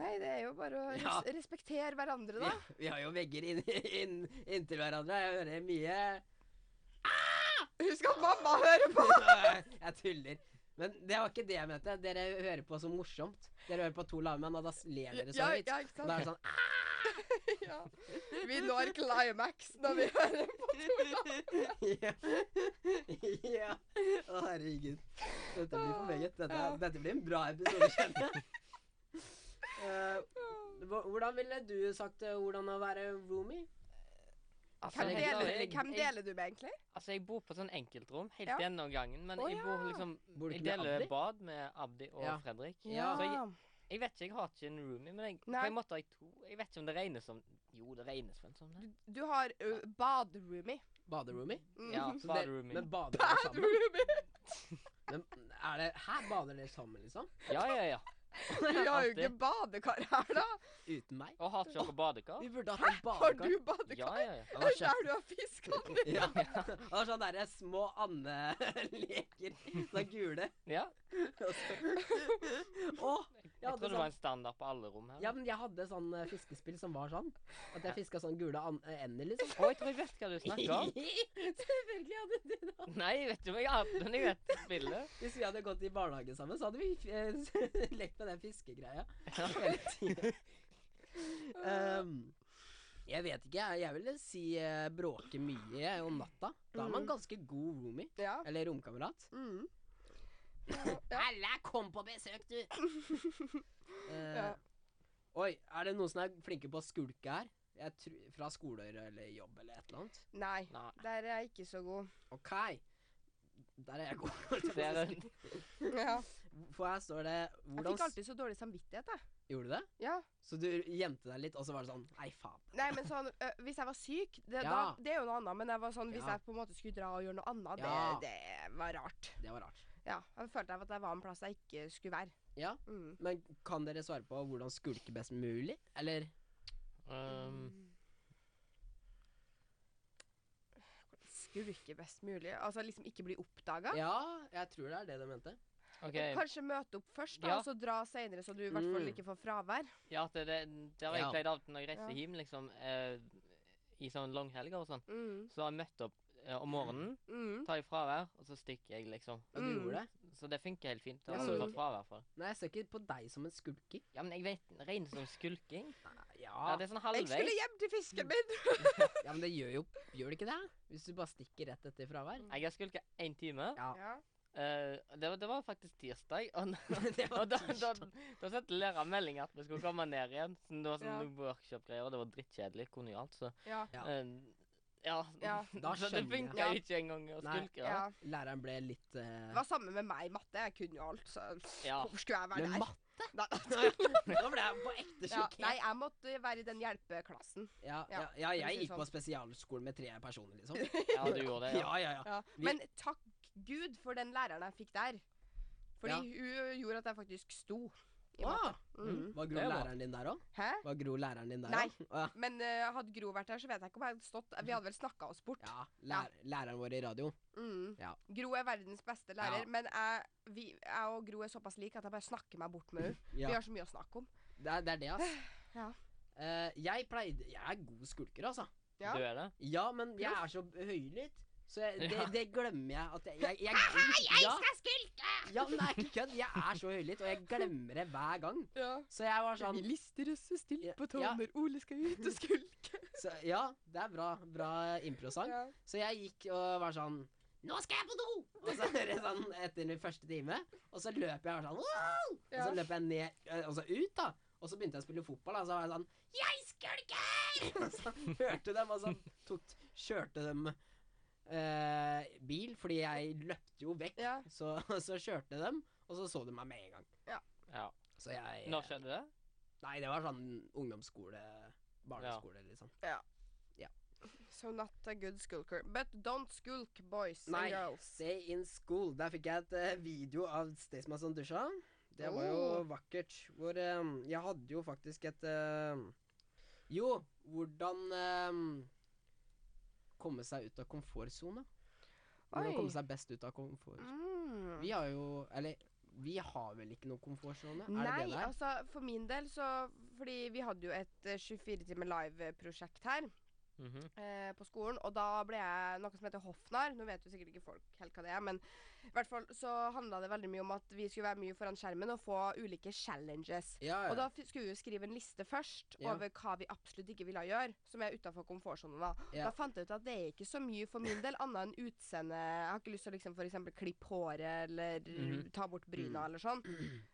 Speaker 3: nei, det er jo bare å res
Speaker 1: Ja.
Speaker 3: respektere hverandre,
Speaker 1: Vi,
Speaker 3: da.
Speaker 1: vi har jo vegger inn, inn, inntil hverandre. Jeg hører mye
Speaker 3: Husk at mamma [LAUGHS] hører på!
Speaker 1: Jeg tuller. Men det var ikke det jeg mente. Dere hører på så morsomt. Dere hører på to lave menn, og da ler dere så
Speaker 3: Ja,
Speaker 1: høyt.
Speaker 3: ja, ikke
Speaker 1: Og da er
Speaker 3: sant?
Speaker 1: det sånn [LAUGHS]
Speaker 3: Ja. Vi når climax når vi
Speaker 1: [LAUGHS]
Speaker 3: hører på
Speaker 1: Ja. ja. Å, herregud. Dette blir forveget. Dette,
Speaker 3: Ja.
Speaker 1: dette blir en bra episode, kjenner jeg. Eh, hva- hvordan ville du sagt eh, hvordan å være roomie?
Speaker 2: Altså,
Speaker 3: Hvem
Speaker 1: det er
Speaker 2: jeg,
Speaker 1: helt
Speaker 3: deler,
Speaker 1: ærlig.
Speaker 2: jeg,
Speaker 3: hvem deler du med, egentlig?
Speaker 2: altså, jeg bor på sånn enkeltrom helt
Speaker 3: Ja.
Speaker 2: gjennom gangen, men
Speaker 3: Å,
Speaker 2: jeg bor
Speaker 3: ja.
Speaker 2: liksom
Speaker 1: Bor du
Speaker 2: Jeg
Speaker 1: ikke med
Speaker 2: deler
Speaker 1: Abdi?
Speaker 2: bad med Abdi og
Speaker 1: Ja.
Speaker 2: Fredrik.
Speaker 1: Ja.
Speaker 2: Så jeg, jeg vet ikke, jeg har ikke en roomie, men jeg, på
Speaker 3: Nei.
Speaker 2: en måte har jeg to. Jeg vet ikke om det regnes som Jo, det regnes vel som sånn, det.
Speaker 3: Du, du har ø, baderoomie.
Speaker 1: Baderoomie?
Speaker 3: Mm. [LAUGHS]
Speaker 2: Ja,
Speaker 1: Så
Speaker 2: bad
Speaker 1: dere-
Speaker 2: roomie.
Speaker 1: Men bader dere sammen?
Speaker 3: Roomie.
Speaker 1: Men er det, her bader dere sammen, liksom?
Speaker 2: Ja, ja, ja.
Speaker 3: Vi har jo
Speaker 2: Alltid.
Speaker 3: ikke badekar her, da.
Speaker 1: Uten meg?
Speaker 2: Og har ikke dere badekar?
Speaker 1: [LAUGHS] Vi burde hatt en
Speaker 3: Har
Speaker 1: badekar.
Speaker 3: du
Speaker 2: Ja,
Speaker 3: [LAUGHS] badekar? [LAUGHS]
Speaker 2: ja, ja.
Speaker 1: Han
Speaker 3: Det
Speaker 1: har
Speaker 3: er
Speaker 1: kjøpt-
Speaker 3: der du har fiska
Speaker 1: [LAUGHS]
Speaker 3: den.
Speaker 1: Ja. Han har sånne derre små andeleker. Sånne gule.
Speaker 2: ja.
Speaker 1: Og så- Å, hadde
Speaker 2: Jeg trodde det
Speaker 1: sånn-
Speaker 2: var en standard på alle rom her.
Speaker 1: Ja, men jeg hadde sånn eh, fiskespill som var sånn. At jeg fiska sånn gule an eh, ender, liksom.
Speaker 2: Å, jeg tror jeg vet hva du snakker om.
Speaker 1: [LAUGHS] Selvfølgelig hadde du det.
Speaker 2: Nei, jeg vet ikke om jeg har hatt den. Jeg vet spillet.
Speaker 1: Hvis vi hadde gått i barnehagen sammen, så hadde vi eh, [LAUGHS] lekt med den fiskegreia [LAUGHS] hele tiden. Ehm, jeg vet ikke, jeg, jeg ville si eh, bråke mye jeg, om natta. Da er man
Speaker 3: Mhm.
Speaker 2: Mm.
Speaker 1: ganske god roomie.
Speaker 3: Ja.
Speaker 1: Eller romkamerat.
Speaker 3: Mm.
Speaker 1: Alle kom på besøk,
Speaker 3: [LAUGHS]
Speaker 1: du! Eh,
Speaker 3: Ja.
Speaker 1: Oi, er det noen som er flinke på å skulke her? Jeg tru, fra skoler eller jobb eller et eller annet?
Speaker 3: Nei,
Speaker 2: Nei.
Speaker 3: der er jeg ikke så god. [LAUGHS]
Speaker 1: OK. Der er jeg god.
Speaker 2: Det er en
Speaker 3: Ja.
Speaker 1: For her står det
Speaker 3: Jeg
Speaker 1: hvordan,
Speaker 3: fikk
Speaker 1: s-
Speaker 3: alltid så dårlig samvittighet, jeg.
Speaker 1: Gjorde du det?
Speaker 3: Ja.
Speaker 1: Så du gjemte deg litt, og så var det sånn Nei, faen.
Speaker 3: Nei, men sånn, ø, hvis jeg var syk, det, da,
Speaker 1: Ja.
Speaker 3: det er jo noe annet. Men jeg var sånn, hvis
Speaker 1: Ja.
Speaker 3: jeg på en måte skulle dra og gjøre noe annet,
Speaker 1: Ja.
Speaker 3: det, det var rart.
Speaker 1: Det var rart.
Speaker 3: Ja, Jeg følte at jeg var en plass jeg ikke skulle være.
Speaker 1: Ja.
Speaker 3: Mm.
Speaker 1: Men kan dere svare på hvordan skulke best mulig? Eller
Speaker 2: um,
Speaker 3: Skurke best mulig. Altså liksom ikke bli oppdaga.
Speaker 1: Ja, jeg tror det er det de mente.
Speaker 2: OK.
Speaker 3: Kanskje møte opp først, da,
Speaker 2: Ja.
Speaker 3: og så dra seinere, så du i hvert fall
Speaker 1: Mm.
Speaker 3: ikke får fravær.
Speaker 2: Ja, det, det, det har jeg
Speaker 1: Ja.
Speaker 2: pleid alltid når jeg reiser
Speaker 3: Ja.
Speaker 2: hjem, liksom. Eh, I sånn langhelger og sånn.
Speaker 3: Mm.
Speaker 2: Så har jeg møtt opp eh, om morgenen,
Speaker 3: Mm.
Speaker 2: tar jeg fravær, og så stikker jeg, liksom.
Speaker 1: Men du
Speaker 3: Mm.
Speaker 1: gjorde det?
Speaker 2: Så det funker helt fint. Det
Speaker 1: Ja,
Speaker 2: har
Speaker 3: så-
Speaker 2: jeg fått fravær for.
Speaker 1: Nei, jeg ser ikke på deg som en skulker.
Speaker 2: Ja, men jeg vet Regnes som skulking?
Speaker 1: Ja,
Speaker 2: Ja, det er sånn
Speaker 3: Jeg
Speaker 2: halvveis.
Speaker 3: skulle hjem til fisken min!
Speaker 1: ja men det gjør jo Gjør det ikke det? Hvis du bare stikker rett etter
Speaker 2: [LAUGHS]
Speaker 1: fravær? [LAUGHS]
Speaker 2: Jeg har skulka én time.
Speaker 1: Ja.
Speaker 3: Ja.
Speaker 2: Eh, det, var, det var faktisk tirsdag. Og, n-
Speaker 3: [LAUGHS]
Speaker 1: Det var
Speaker 2: og da, da,
Speaker 1: tirsdag.
Speaker 2: da sendte læreren melding at vi skulle komme ned igjen. Så det var sånn
Speaker 3: Ja.
Speaker 2: noen workshop-greier, og det var drittkjedelig. Kunne jo alt, så
Speaker 3: Ja.
Speaker 1: Ja.
Speaker 2: eh, ja. [LAUGHS]
Speaker 3: Ja.
Speaker 1: Da
Speaker 2: så det
Speaker 1: skjønner jeg.
Speaker 2: funka
Speaker 3: Ja.
Speaker 2: ikke engang å
Speaker 1: Nei.
Speaker 2: skulke.
Speaker 3: ja.
Speaker 2: da.
Speaker 1: Læreren ble litt eh,
Speaker 3: Det var samme med meg i matte. Jeg kunne jo alt, så
Speaker 2: Ja.
Speaker 3: hvorfor skulle jeg være
Speaker 1: Men
Speaker 3: der?
Speaker 1: matte?
Speaker 3: Nei,
Speaker 1: [LAUGHS] Da ble jeg på ekte
Speaker 3: ja, nei,
Speaker 1: sjokkert.
Speaker 3: jeg måtte være i den hjelpeklassen.
Speaker 1: Ja, ja, ja,
Speaker 3: Ja, for å si
Speaker 1: jeg
Speaker 3: det
Speaker 1: gikk på spesialskolen med tre personer,
Speaker 3: [LAUGHS]
Speaker 1: liksom.
Speaker 2: Ja, du gjorde det. Ja.
Speaker 1: Ja, ja, ja. Vi-
Speaker 3: Men takk Gud for den læreren jeg fikk der. Fordi
Speaker 1: Ja.
Speaker 3: hun gjorde at jeg faktisk sto i matte.
Speaker 1: Ah,
Speaker 3: Mm.
Speaker 1: var Gro
Speaker 2: Det var-
Speaker 1: læreren din der òg?
Speaker 3: Hæ?
Speaker 1: Var Gro læreren din der
Speaker 3: Nei.
Speaker 1: også? Å, ja.
Speaker 3: Men eh, hadde Gro vært her, så vet jeg ikke om jeg hadde stått Vi hadde vel snakka oss bort.
Speaker 1: Ja, lær, læreren vår i radio.
Speaker 3: Mm.
Speaker 1: Ja.
Speaker 3: Gro er verdens beste lærer,
Speaker 1: Ja.
Speaker 3: men jeg, vi, jeg og Gro er såpass like at jeg bare snakker meg bort med henne. Vi
Speaker 1: Ja,
Speaker 3: har så mye å snakke om.
Speaker 1: det er det, er det ass.
Speaker 3: [SIGHS] Ja.
Speaker 1: Eh, jeg pleide Jeg er god skulker, altså.
Speaker 3: [LAUGHS] Ja.
Speaker 2: Du er det?
Speaker 1: Ja, men jeg
Speaker 3: Proff.
Speaker 1: er så høylytt, så jeg, det,
Speaker 2: Ja.
Speaker 1: det glemmer jeg at jeg Jeg, jeg,
Speaker 3: [LAUGHS]
Speaker 1: ja,
Speaker 3: Jeg skulke!
Speaker 1: ja, men det er ikke kødd. Jeg er så høylytt, og jeg glemmer det hver gang.
Speaker 3: Ja.
Speaker 1: Så jeg var sånn
Speaker 3: lister oss
Speaker 1: Ja,
Speaker 3: stilt
Speaker 1: på tårner.
Speaker 3: Ole skal ut
Speaker 1: [LAUGHS]
Speaker 3: og skulke.
Speaker 1: så, Ja, det er bra, bra improsang.
Speaker 3: Ja.
Speaker 1: Så jeg gikk og var sånn Nå skal jeg på do! Og så er det sånn etter min første time. Og så løp jeg og var sånn wow! Og så
Speaker 3: Ja.
Speaker 1: løp jeg ned, eh, og så ut, da. Og så begynte jeg å spille fotball, da. Og så var jeg sånn Jeg skulker! [LAUGHS] Og så hørte dem, og så tok, kjørte dem eh, bil, fordi jeg løpte jo vekk.
Speaker 3: Ja.
Speaker 1: Så, så kjørte dem, og så så de meg med en gang.
Speaker 2: Ja.
Speaker 1: Så jeg
Speaker 2: Når skjedde det?
Speaker 1: Nei, det var sånn ungdomsskole, barneskole, liksom.
Speaker 3: So not a good skulker. But don't skulk, boys
Speaker 1: Nei,
Speaker 3: and girls.
Speaker 1: Stay in school. Der fikk jeg et eh, video av Staysman som dusja. Det var jo
Speaker 3: Oh.
Speaker 1: vakkert. Hvor eh, Jeg hadde jo faktisk et eh, Jo, hvordan eh, komme seg ut av komfortsona. Hvordan
Speaker 3: Oi.
Speaker 1: komme seg best ut av komfort...
Speaker 3: Mm.
Speaker 1: Vi har jo Eller vi har vel ikke noen komfortsone? Er det
Speaker 3: Nei,
Speaker 1: det det er?
Speaker 3: altså for min del så Fordi vi hadde jo et eh, 24 timer live-prosjekt her
Speaker 2: Mhm.
Speaker 3: eh, på skolen, og da ble jeg noe som heter hoffnarr. Nå vet jo sikkert ikke folk helt hva det er, men i hvert fall så handla det veldig mye om at vi skulle være mye foran skjermen og få ulike challenges.
Speaker 1: Ja, ja.
Speaker 3: Og da f skulle vi jo skrive en liste først
Speaker 1: Ja.
Speaker 3: over hva vi absolutt ikke ville gjøre, som er utafor komfortsonen. Da.
Speaker 1: Ja.
Speaker 3: da fant jeg ut at det er ikke så mye for min del, annet enn utseende. Jeg har ikke lyst til å liksom f.eks. klippe håret eller
Speaker 2: Mhm.
Speaker 3: ta bort bryna
Speaker 1: Mm.
Speaker 3: eller sånn.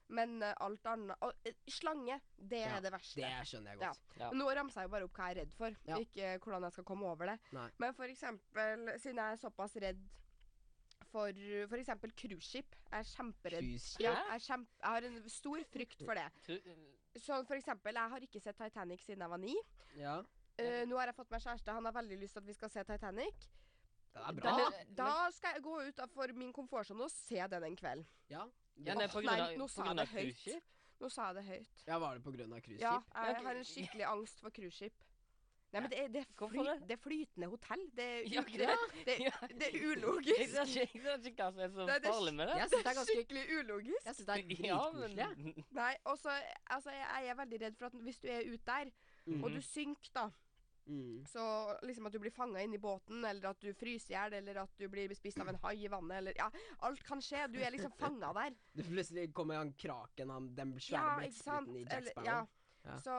Speaker 3: Men eh, alt annet Og eh, slange, det
Speaker 1: Ja,
Speaker 3: er det verste.
Speaker 1: det skjønner jeg godt.
Speaker 2: Ja.
Speaker 3: Nå ramser jeg jo bare opp hva jeg er redd for,
Speaker 1: Ja.
Speaker 3: ikke eh, hvordan jeg skal komme over det.
Speaker 1: Nei.
Speaker 3: Men for eksempel, siden jeg er såpass redd for eh, for eksempel cruiseskip. Jeg er kjemperedd.
Speaker 1: Cruiseskip?
Speaker 3: Ja, jeg, er kjempe, jeg har en stor frykt for det.
Speaker 2: Tu
Speaker 3: Sånn for eksempel, jeg har ikke sett Titanic siden jeg var ni.
Speaker 1: Ja.
Speaker 3: Eh, nå har jeg fått meg kjæreste, han har veldig lyst til at vi skal se Titanic.
Speaker 1: Det
Speaker 3: [LAUGHS]
Speaker 1: er bra.
Speaker 3: Da, da skal jeg gå ut av- for min komfortsone og se den en kveld.
Speaker 2: ja, det er på
Speaker 3: Åh,
Speaker 2: grunn
Speaker 3: nei,
Speaker 2: av,
Speaker 3: nå
Speaker 2: på
Speaker 3: sa
Speaker 2: grunn
Speaker 3: jeg
Speaker 2: av
Speaker 3: det høyt.
Speaker 2: cruiseskip.
Speaker 3: Nå sa jeg det høyt.
Speaker 1: Ja, var det på grunn av cruiseskip?
Speaker 3: Ja,
Speaker 2: Ja,
Speaker 3: jeg
Speaker 2: ok.
Speaker 3: har en skikkelig angst for cruiseskip. Nei, men det er, det er,
Speaker 2: Hvorfor
Speaker 3: flyt,
Speaker 2: det?
Speaker 3: det er flytende hotell. Det er, u-
Speaker 2: Ja,
Speaker 3: det, det,
Speaker 2: ja.
Speaker 3: det er
Speaker 2: [LAUGHS] Jeg
Speaker 3: ulogisk.
Speaker 2: ser ikke, jeg ser ikke hva som er så
Speaker 3: Nei, det er
Speaker 2: farlig med det.
Speaker 1: Jeg syns det er ganske
Speaker 3: Skikkelig ulogisk.
Speaker 1: Jeg syns det er
Speaker 2: [LAUGHS] Ja,
Speaker 1: dritkoselig. jeg.
Speaker 2: men
Speaker 3: Nei, og så altså, jeg, jeg er veldig redd for at hvis du er ute der, og
Speaker 2: Mhm.
Speaker 3: du synker, da
Speaker 1: Mm.
Speaker 3: Så liksom at du blir fanga inni båten, eller at du fryser i hjel, eller at du blir spist av en hai i vannet, eller Ja, alt kan skje. Du er
Speaker 2: [LAUGHS]
Speaker 3: liksom fanga der.
Speaker 1: Du plutselig kommer han kraken, han den
Speaker 3: Ja,
Speaker 1: svære
Speaker 3: ikke sant?
Speaker 1: blekkspruten i Jack
Speaker 3: Eller,
Speaker 1: Sparrow.
Speaker 3: ja.
Speaker 1: Ja.
Speaker 3: Så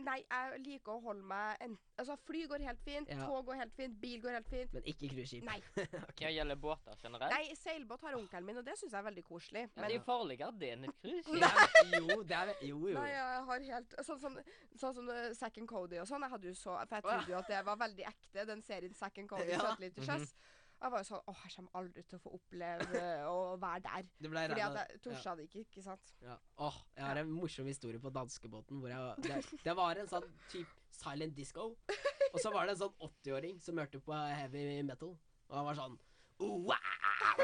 Speaker 3: nei, jeg liker å holde meg en, Altså, fly går helt fint,
Speaker 1: Ja.
Speaker 3: tog går helt fint, bil går helt fint.
Speaker 1: Men ikke cruiseskip.
Speaker 3: Nei.
Speaker 2: hva gjelder båter generelt?
Speaker 3: nei seilbåt har onkelen min, og det syns jeg er veldig koselig.
Speaker 2: Ja, det er
Speaker 3: Men
Speaker 2: jo farligere det enn et cruise.
Speaker 1: Det er- Jo, det er Jo, jo.
Speaker 3: Nei, jeg har helt Sånn som, sånn som eh, Zack and Cody og sånn. Jeg hadde jo så For jeg trodde jo at det var veldig ekte, den serien Zack and Cody
Speaker 1: Ja. Mhm.
Speaker 3: søtlig til sjøs. Og Jeg var jo sånn Å, jeg kommer aldri til å få oppleve å være
Speaker 1: [LAUGHS]
Speaker 3: der.
Speaker 1: Du ble
Speaker 3: Fordi
Speaker 1: redd
Speaker 3: at
Speaker 1: av
Speaker 3: jeg torde det ikke, ikke sant.
Speaker 1: ja. Åh, jeg har en morsom historie på danskebåten. Hvor jeg, det, det var en sånn type silent disco. Og så var det en sånn 80-åring som hørte på heavy metal. Og han var sånn «Oa!»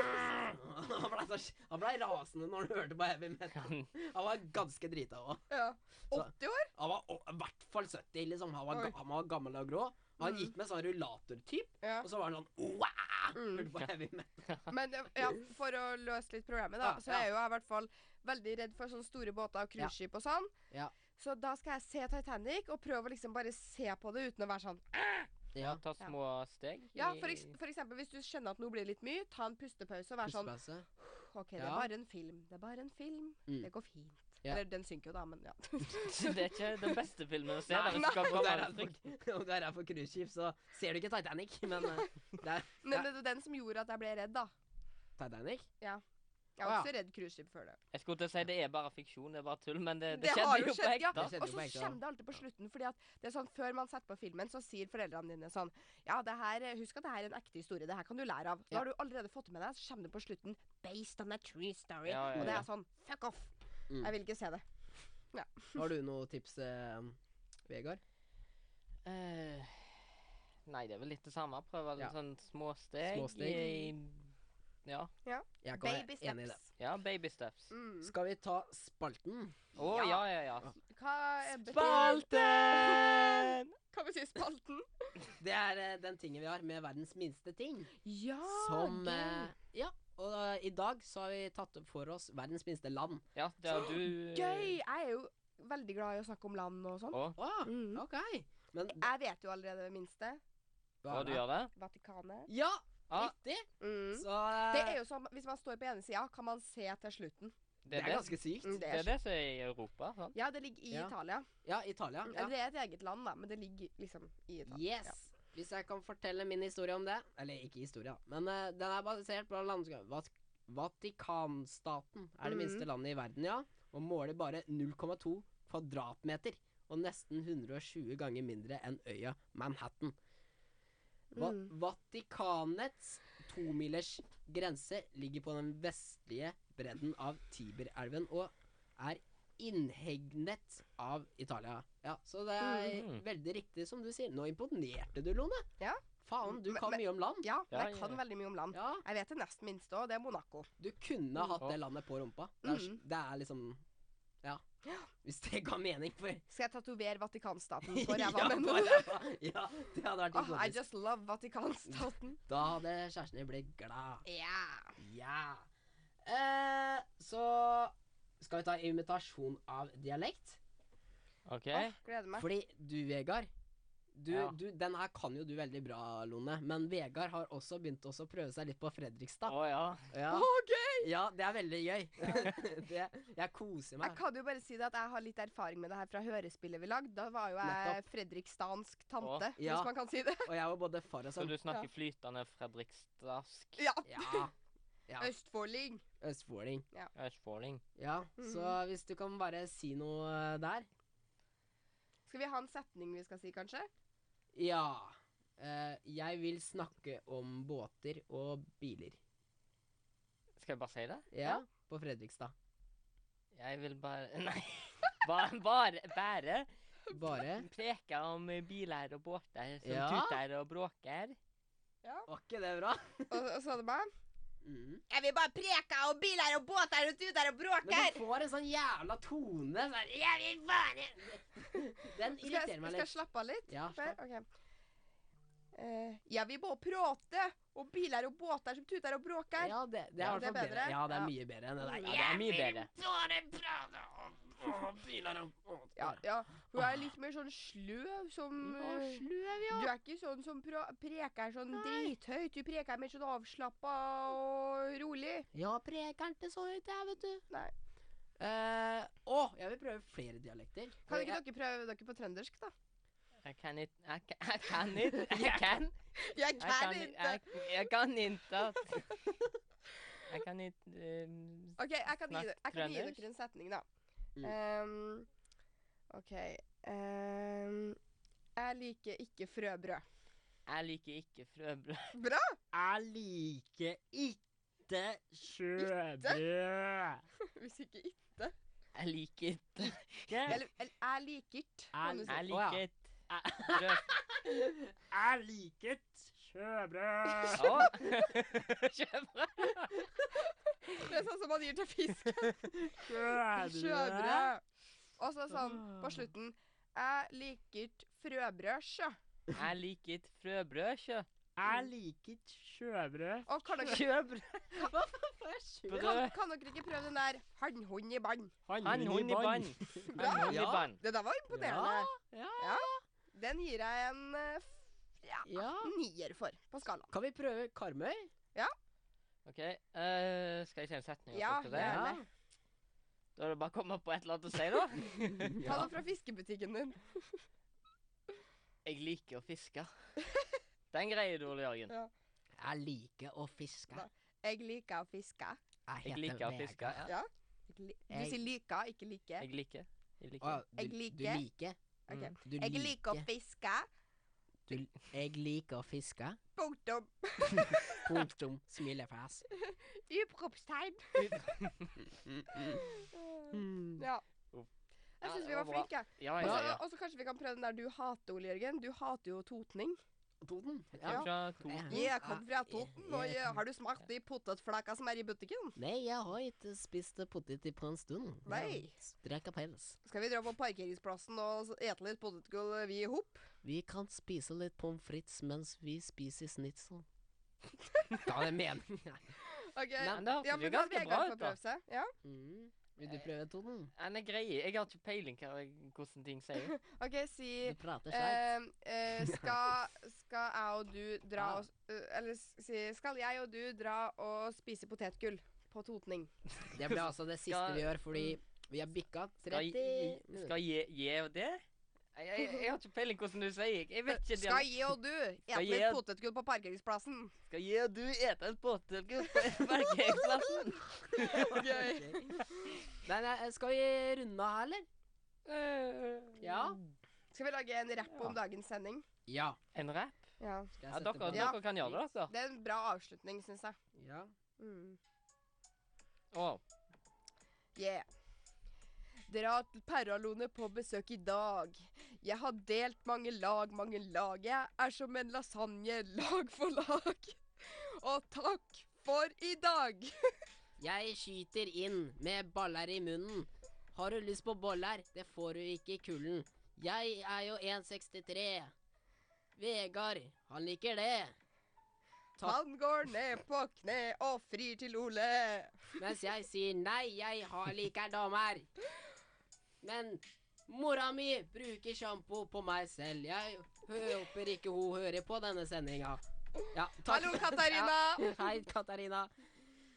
Speaker 1: han ble, så, han ble rasende når han hørte på heavy metal. Han var ganske drita òg.
Speaker 3: Ja. 80 år?
Speaker 1: Han var å- i hvert fall 70. Liksom. Han, var,
Speaker 3: Oi.
Speaker 1: ga- han var gammel og grå. Han
Speaker 3: Mm.
Speaker 1: gikk med sånn rullator-typ,
Speaker 3: Ja.
Speaker 1: og så var han sånn «Oa!»
Speaker 3: Mm.
Speaker 1: Hørte på heavy metal.
Speaker 3: Men eh, ja, for å løse litt problemet, da,
Speaker 1: Ja,
Speaker 3: så
Speaker 1: ja.
Speaker 3: er jo jeg i hvert fall veldig redd for sånne store båter og cruiseskip og sånn.
Speaker 1: Ja.
Speaker 3: Så da skal jeg se Titanic og prøve å liksom bare se på det uten å være sånn
Speaker 2: Ja, ta små steg.
Speaker 3: Ja,
Speaker 2: i-
Speaker 3: for, eks for eksempel hvis du skjønner at nå blir det litt mye, ta en pustepause og være sånn
Speaker 1: Pustepause.
Speaker 3: OK, det er
Speaker 1: Ja.
Speaker 3: bare en film. Det er bare en film.
Speaker 1: Mm.
Speaker 3: Det går fint.
Speaker 1: Ja.
Speaker 3: Eller den synker jo, da, men ja.
Speaker 2: [LAUGHS]
Speaker 3: [LAUGHS]
Speaker 2: Det er ikke den beste filmen å se.
Speaker 1: Nei,
Speaker 2: der du skal
Speaker 1: Om du
Speaker 2: komme
Speaker 1: er
Speaker 2: av
Speaker 1: her
Speaker 2: trykk.
Speaker 1: for- [LAUGHS] om du er her for cruiseskip, så ser du ikke Titanic, men eh, det
Speaker 3: [LAUGHS]
Speaker 1: er
Speaker 3: Men det er den som gjorde at jeg ble redd, da.
Speaker 1: Titanic.
Speaker 3: Jeg
Speaker 1: Å,
Speaker 3: var
Speaker 1: ja.
Speaker 3: ikke så redd cruiseskip før det.
Speaker 2: Jeg skulle til å si det er bare fiksjon, det er bare tull, men det, det,
Speaker 3: Det har jo
Speaker 2: skjedde jo på
Speaker 3: skjedd, ja.
Speaker 2: ekte.
Speaker 1: Det skjedde
Speaker 3: Og
Speaker 1: jo
Speaker 3: så
Speaker 1: på ekte, da.
Speaker 3: kommer det alltid på slutten, fordi at det er sånn før man setter på filmen, så sier foreldrene dine sånn Ja, det her, husk at det her er en ekte historie, det her kan du lære av. Da har du allerede fått det med deg, så kommer det på slutten Based on a true story.
Speaker 2: Ja, ja,
Speaker 3: Og det
Speaker 2: ja.
Speaker 3: er sånn Fuck off!
Speaker 1: Mm.
Speaker 3: Jeg vil ikke se det.
Speaker 1: Har du noe tips, eh, Vegard?
Speaker 2: Eh, Nei, det er vel litt det samme. Prøve
Speaker 1: Ja.
Speaker 2: litt sånn små steg.
Speaker 1: Små steg.
Speaker 2: I, ja.
Speaker 1: Jeg kan være
Speaker 3: Baby
Speaker 1: enig i det.
Speaker 3: steps.
Speaker 2: ja, baby steps. Å,
Speaker 3: Mm.
Speaker 1: Skal vi ta spalten?
Speaker 3: Ja.
Speaker 2: ja, ja, ja.
Speaker 3: Hva er
Speaker 1: Spalten!
Speaker 3: Kan vi si spalten?
Speaker 1: Det er eh, den tingen vi har med verdens minste ting.
Speaker 3: Ja!
Speaker 1: som
Speaker 3: Ah, gøy.
Speaker 1: eh, Ja. Og eh, i dag så har vi tatt opp for oss verdens minste land.
Speaker 2: Ja, det er du
Speaker 3: Gøy! Jeg er jo veldig glad i å snakke om land og sånn.
Speaker 2: Å,
Speaker 1: Å,
Speaker 3: Mm.
Speaker 1: OK. Men
Speaker 3: Jeg vet jo allerede det minste.
Speaker 2: hva du
Speaker 1: det?
Speaker 2: gjør det?
Speaker 3: Vatikanet.
Speaker 1: Ja,
Speaker 2: Ja.
Speaker 1: riktig!
Speaker 3: Mm.
Speaker 1: Så
Speaker 3: Det
Speaker 1: eh,
Speaker 3: er jo som, Hvis man står på ene sida, kan man se til slutten.
Speaker 1: eh, det er ganske sykt.
Speaker 3: Mm,
Speaker 2: Det er det som er i Europa. sant?
Speaker 3: Ja, det ligger i
Speaker 1: Ja.
Speaker 3: Italia.
Speaker 1: Ja, Italia.
Speaker 3: Mm,
Speaker 1: Ja.
Speaker 3: Eller det er et eget land, da, men det ligger liksom i Italia.
Speaker 1: Yes. Hvis jeg kan fortelle min historie om det Eller ikke historie, da. men eh, den er basert på landskap... Vat Vatikanstaten er det
Speaker 3: Mhm.
Speaker 1: minste landet i verden, ja. Og måler bare 0,2 kvadratmeter. Og nesten 120 ganger mindre enn øya Manhattan. Va
Speaker 3: Mm.
Speaker 1: Vatikanets tomilers grense ligger på den vestlige bredden av Tiberelven og er innhegnet av Italia. Ja, Så det er
Speaker 2: Mhm.
Speaker 1: Eh, veldig riktig som du sier. Nå imponerte du, Lone.
Speaker 3: Ja.
Speaker 1: Faen, du
Speaker 3: Men-
Speaker 1: kan
Speaker 3: men-
Speaker 1: mye om land.
Speaker 3: Ja, men
Speaker 2: Ja,
Speaker 3: jeg kan
Speaker 2: ja.
Speaker 3: veldig mye om land.
Speaker 1: Ja,
Speaker 3: Jeg vet det nest minste òg, det er Monaco.
Speaker 1: Du kunne hatt
Speaker 2: Mm. Ja.
Speaker 1: det landet på rumpa. Det er,
Speaker 3: Mhm.
Speaker 1: det er liksom Ja. Hvis det ga mening for
Speaker 3: Skal jeg
Speaker 1: [LAUGHS]
Speaker 3: tatovere Vatikanstaten
Speaker 1: Ja,
Speaker 3: [LAUGHS] på ræva
Speaker 1: på
Speaker 3: mi nå?
Speaker 1: ræva. ja, det hadde vært
Speaker 3: Ah, I
Speaker 1: ikonisk.
Speaker 3: just love Vatikanstaten.
Speaker 1: Da hadde kjæresten din blitt glad.
Speaker 3: Yeah.
Speaker 1: Ja. Eh, så skal vi ta imitasjon av dialekt.
Speaker 2: OK?
Speaker 3: Åh, gleder meg.
Speaker 1: Fordi du, Vegard du,
Speaker 2: Ja.
Speaker 1: du, Den her kan jo du veldig bra, Lone. Men Vegard har også begynt også å prøve seg litt på
Speaker 2: Å
Speaker 1: Fredrikstad.
Speaker 2: ja.
Speaker 1: Ja. ja, det er veldig gøy. [LAUGHS] det, jeg koser
Speaker 3: Jeg
Speaker 1: meg.
Speaker 3: kan jo bare si det at jeg har litt erfaring med det her fra hørespillet vi lagde. Da var jo jeg fredrikstansk tante,
Speaker 1: ja.
Speaker 3: hvis man kan si det. [LAUGHS]
Speaker 1: Og jeg var både far og
Speaker 2: Så
Speaker 1: sønn.
Speaker 2: du snakker flytende fredrikstadsk?
Speaker 3: Ja.
Speaker 1: Ja. ja.
Speaker 3: Østfolding.
Speaker 1: Østfolding.
Speaker 2: Østfolding?
Speaker 1: Ja, så
Speaker 3: Mhm.
Speaker 1: hvis du kan bare si noe eh, der.
Speaker 3: Skal vi ha en setning vi skal si, kanskje?
Speaker 1: Ja. Eh, jeg vil snakke om båter og biler.
Speaker 2: Skal jeg bare si det?
Speaker 1: Ja, på Fredrikstad.
Speaker 2: Jeg vil bare [LAUGHS] Nei. Bare, bare, bare
Speaker 1: Bare
Speaker 3: [LAUGHS]
Speaker 2: preker om biler og båter som
Speaker 1: Ja.
Speaker 2: tuter og bråker.
Speaker 1: Var ikke det bra?
Speaker 3: Og, og så er det meg.
Speaker 1: Mm.
Speaker 3: Jeg vil bare preke og biler og båter og tuter og
Speaker 1: Men
Speaker 3: bråker.
Speaker 1: du får en sånn jævla tone sånn Jeg vil
Speaker 3: [LAUGHS]
Speaker 1: bare Den
Speaker 3: Skal jeg,
Speaker 1: irriterer meg
Speaker 3: skal jeg
Speaker 1: litt.
Speaker 3: slappe av litt?
Speaker 1: Ja,
Speaker 3: Før? Ok. Eh, jeg vil bare prate om biler og båter som tuter og bråker.
Speaker 1: ja det, det er i
Speaker 3: Ja,
Speaker 1: hvert
Speaker 3: det er
Speaker 1: fall bedre.
Speaker 3: bedre.
Speaker 1: Ja, det er
Speaker 3: Ja.
Speaker 1: mye bedre enn det der.
Speaker 2: Ja, det er mye bedre.
Speaker 3: Ja, ja. Hun er litt mer sånn sløv som eh, Du er ikke sånn som pra preker sånn drithøyt. Du preker mer sånn avslappa og rolig.
Speaker 1: Ja, preker ikke så høyt, jeg, vet du.
Speaker 3: Nei.
Speaker 1: Eh, å, jeg vil prøve flere dialekter.
Speaker 3: Kan ikke dere prøve dere på trøndersk, da?
Speaker 2: Jeg kan ikke Jeg kan- jeg kan [LAUGHS] ikke Jeg kan
Speaker 3: Jeg
Speaker 2: Jeg kan ikke Jeg, jeg kan [LAUGHS] ikke Jeg kan ikke ehm,
Speaker 3: OK, jeg kan, gi,
Speaker 2: Snakk
Speaker 3: de- jeg kan gi
Speaker 2: trøndersk.
Speaker 3: dere en setning, da.
Speaker 1: Mm.
Speaker 3: Ehm, OK ehm, Jeg liker ikke frøbrød.
Speaker 2: Jeg liker ikke frøbrød.
Speaker 3: Bra!
Speaker 1: Jeg liker ikke sjøbrød.
Speaker 3: Hvis ikke ikke
Speaker 2: Jeg liker ikke
Speaker 1: Jeg
Speaker 3: Eller, eller jeg liker ikke. kan du si.
Speaker 2: Jeg
Speaker 1: Å, ja. liker
Speaker 2: liker ikke brød.
Speaker 3: [LAUGHS]
Speaker 1: sjøbrød.
Speaker 2: [LAUGHS] Å! Kjøpbrød.
Speaker 3: [LAUGHS] Det er sånn som man gir til fisk.
Speaker 1: Sjøbrød.
Speaker 3: Sjøbrød. Og så sånn på slutten Jeg liker ikke frøbrød, sjø.
Speaker 2: Jeg liker ikke frøbrød, sjø.
Speaker 1: Jeg liker sjøbrød.
Speaker 3: Og kan dere,
Speaker 2: Kjøbrød.
Speaker 3: kan, kan dere ikke prøve den der handhund i bånd?
Speaker 2: Han hund i bånd.
Speaker 3: Bra.
Speaker 2: Han hund i
Speaker 1: Ja.
Speaker 2: bånd.
Speaker 3: Det der var imponerende.
Speaker 1: Ja,
Speaker 3: Den gir jeg en eh, f- ja,
Speaker 1: ja.
Speaker 3: nier for på skalaen.
Speaker 1: Kan vi prøve Karmøy?
Speaker 2: OK, eh, skal jeg si en setning? og så
Speaker 3: Ja,
Speaker 2: skal det?
Speaker 3: gjerne.
Speaker 2: Da er det bare å komme på et eller annet å si, da. [LAUGHS]
Speaker 3: Ta den fra fiskebutikken din.
Speaker 2: Jeg liker å fiske. Den greier du, Ole Jørgen.
Speaker 1: Jeg liker å fiske.
Speaker 3: Nei. Jeg liker å fiske.
Speaker 2: Jeg liker å fiske.
Speaker 3: Jeg li- Du
Speaker 1: Jeg-
Speaker 3: sier like, ikke like.
Speaker 2: Jeg liker. Jeg liker.
Speaker 1: Å, du,
Speaker 3: Jeg
Speaker 1: du
Speaker 3: liker.
Speaker 1: liker.
Speaker 3: Ok.
Speaker 2: Mm.
Speaker 1: Du
Speaker 3: Jeg liker å fiske.
Speaker 1: Du, jeg liker å fiske.
Speaker 3: Punktum.
Speaker 1: Punktum.
Speaker 2: [LAUGHS]
Speaker 1: Smilefjes.
Speaker 3: Utropstegn.
Speaker 2: Mm,
Speaker 1: Mm.
Speaker 3: Ja. Jeg
Speaker 2: Ja,
Speaker 3: syns
Speaker 2: det
Speaker 3: vi
Speaker 2: var
Speaker 3: var
Speaker 2: bra.
Speaker 3: flinke.
Speaker 2: Ja,
Speaker 3: Og
Speaker 2: ja,
Speaker 3: så-
Speaker 2: ja.
Speaker 3: Og så kanskje vi kan prøve den der du hater, Ole Jørgen. Du hater jo totning.
Speaker 1: Toten.
Speaker 2: Kom fra to.
Speaker 1: Ja.
Speaker 3: Jeg kom fra Toten, og
Speaker 1: jeg
Speaker 3: jeg,
Speaker 1: kom-
Speaker 3: har du smakt de potetflaka som er i butikken?
Speaker 1: Nei, jeg har ikke spist potet på en stund. Jeg
Speaker 3: Nei.
Speaker 1: Drikker pels.
Speaker 3: Skal vi dra på parkeringsplassen og s- ete litt potetgull vi i hop?
Speaker 1: Vi kan spise litt pommes frites mens vi spiser snitsel. Hva er det [LAUGHS] meningen?
Speaker 3: Ok,
Speaker 2: Men det
Speaker 3: ja,
Speaker 2: hørtes jo
Speaker 3: men da
Speaker 2: ganske
Speaker 3: Vegard
Speaker 2: bra
Speaker 3: får
Speaker 2: ut, da.
Speaker 3: prøve seg. Ja.
Speaker 1: Mm. Vil du prøve, Toten?
Speaker 2: Nei, det er greier. Jeg har ikke peiling hva, hvordan ting sier.
Speaker 3: Ok, si
Speaker 1: Du prater skeivt.
Speaker 3: eh, eh, skal, skal jeg og du dra
Speaker 1: Ja.
Speaker 3: og s- eh, Eller s- si Skal jeg og du dra og spise potetgull på Totning?
Speaker 1: Det blir altså det siste
Speaker 2: Skal- Mm.
Speaker 1: vi gjør, fordi vi har bikka
Speaker 2: Skal
Speaker 1: 30
Speaker 2: jeg-
Speaker 1: minutter.
Speaker 2: Skal jeg gi det? Jeg, jeg, jeg har ikke peiling hvordan du sier Jeg vet ikke.
Speaker 3: Skal jeg og du ete
Speaker 2: jeg-
Speaker 3: litt potetgull på parkeringsplassen?
Speaker 2: Skal jeg og du ete en potetgull på parkeringsplassen?
Speaker 3: [LAUGHS]
Speaker 2: [LAUGHS]
Speaker 1: Nei, nei, eh, skal vi runde av, eller? Ja.
Speaker 3: Skal vi lage en rapp om dagens sending?
Speaker 1: Ja.
Speaker 2: En rap?
Speaker 3: Ja.
Speaker 1: Skal
Speaker 2: Ja,
Speaker 1: jeg sette
Speaker 2: dere,
Speaker 1: på?
Speaker 3: Ja.
Speaker 2: dere kan gjøre det, altså.
Speaker 3: Det er en bra avslutning, syns jeg.
Speaker 1: Ja.
Speaker 3: Mm.
Speaker 2: Å,
Speaker 3: Yeah. Dere har til Perralone på besøk i dag. Jeg har delt mange lag, mange lag. Jeg er som en lasagne, lag for lag. [LAUGHS] Og takk for i dag.
Speaker 1: Jeg skyter inn med baller i munnen. Har du lyst på boller? Det får du ikke i kulden. Jeg er jo 1,63. Vegard, han liker det. Takk.
Speaker 3: Han går ned på kne og frir til Ole.
Speaker 1: Mens jeg sier nei, jeg har liker damer. Men mora mi bruker sjampo på meg selv. Jeg håper ikke hun hører på denne sendinga. Ja, takk.
Speaker 3: Hallo,
Speaker 1: [LAUGHS]
Speaker 3: Katarina.
Speaker 1: Hei, Katarina.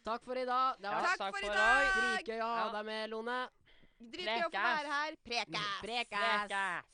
Speaker 1: Takk for i dag. Det
Speaker 2: Ja,
Speaker 1: var
Speaker 3: Takk
Speaker 2: takk
Speaker 3: for i
Speaker 2: for
Speaker 3: dag.
Speaker 1: dritgøy å ha deg med, Lone.
Speaker 3: Dritgøy å få være her. Prekas.
Speaker 1: Prekas.
Speaker 2: Prekas.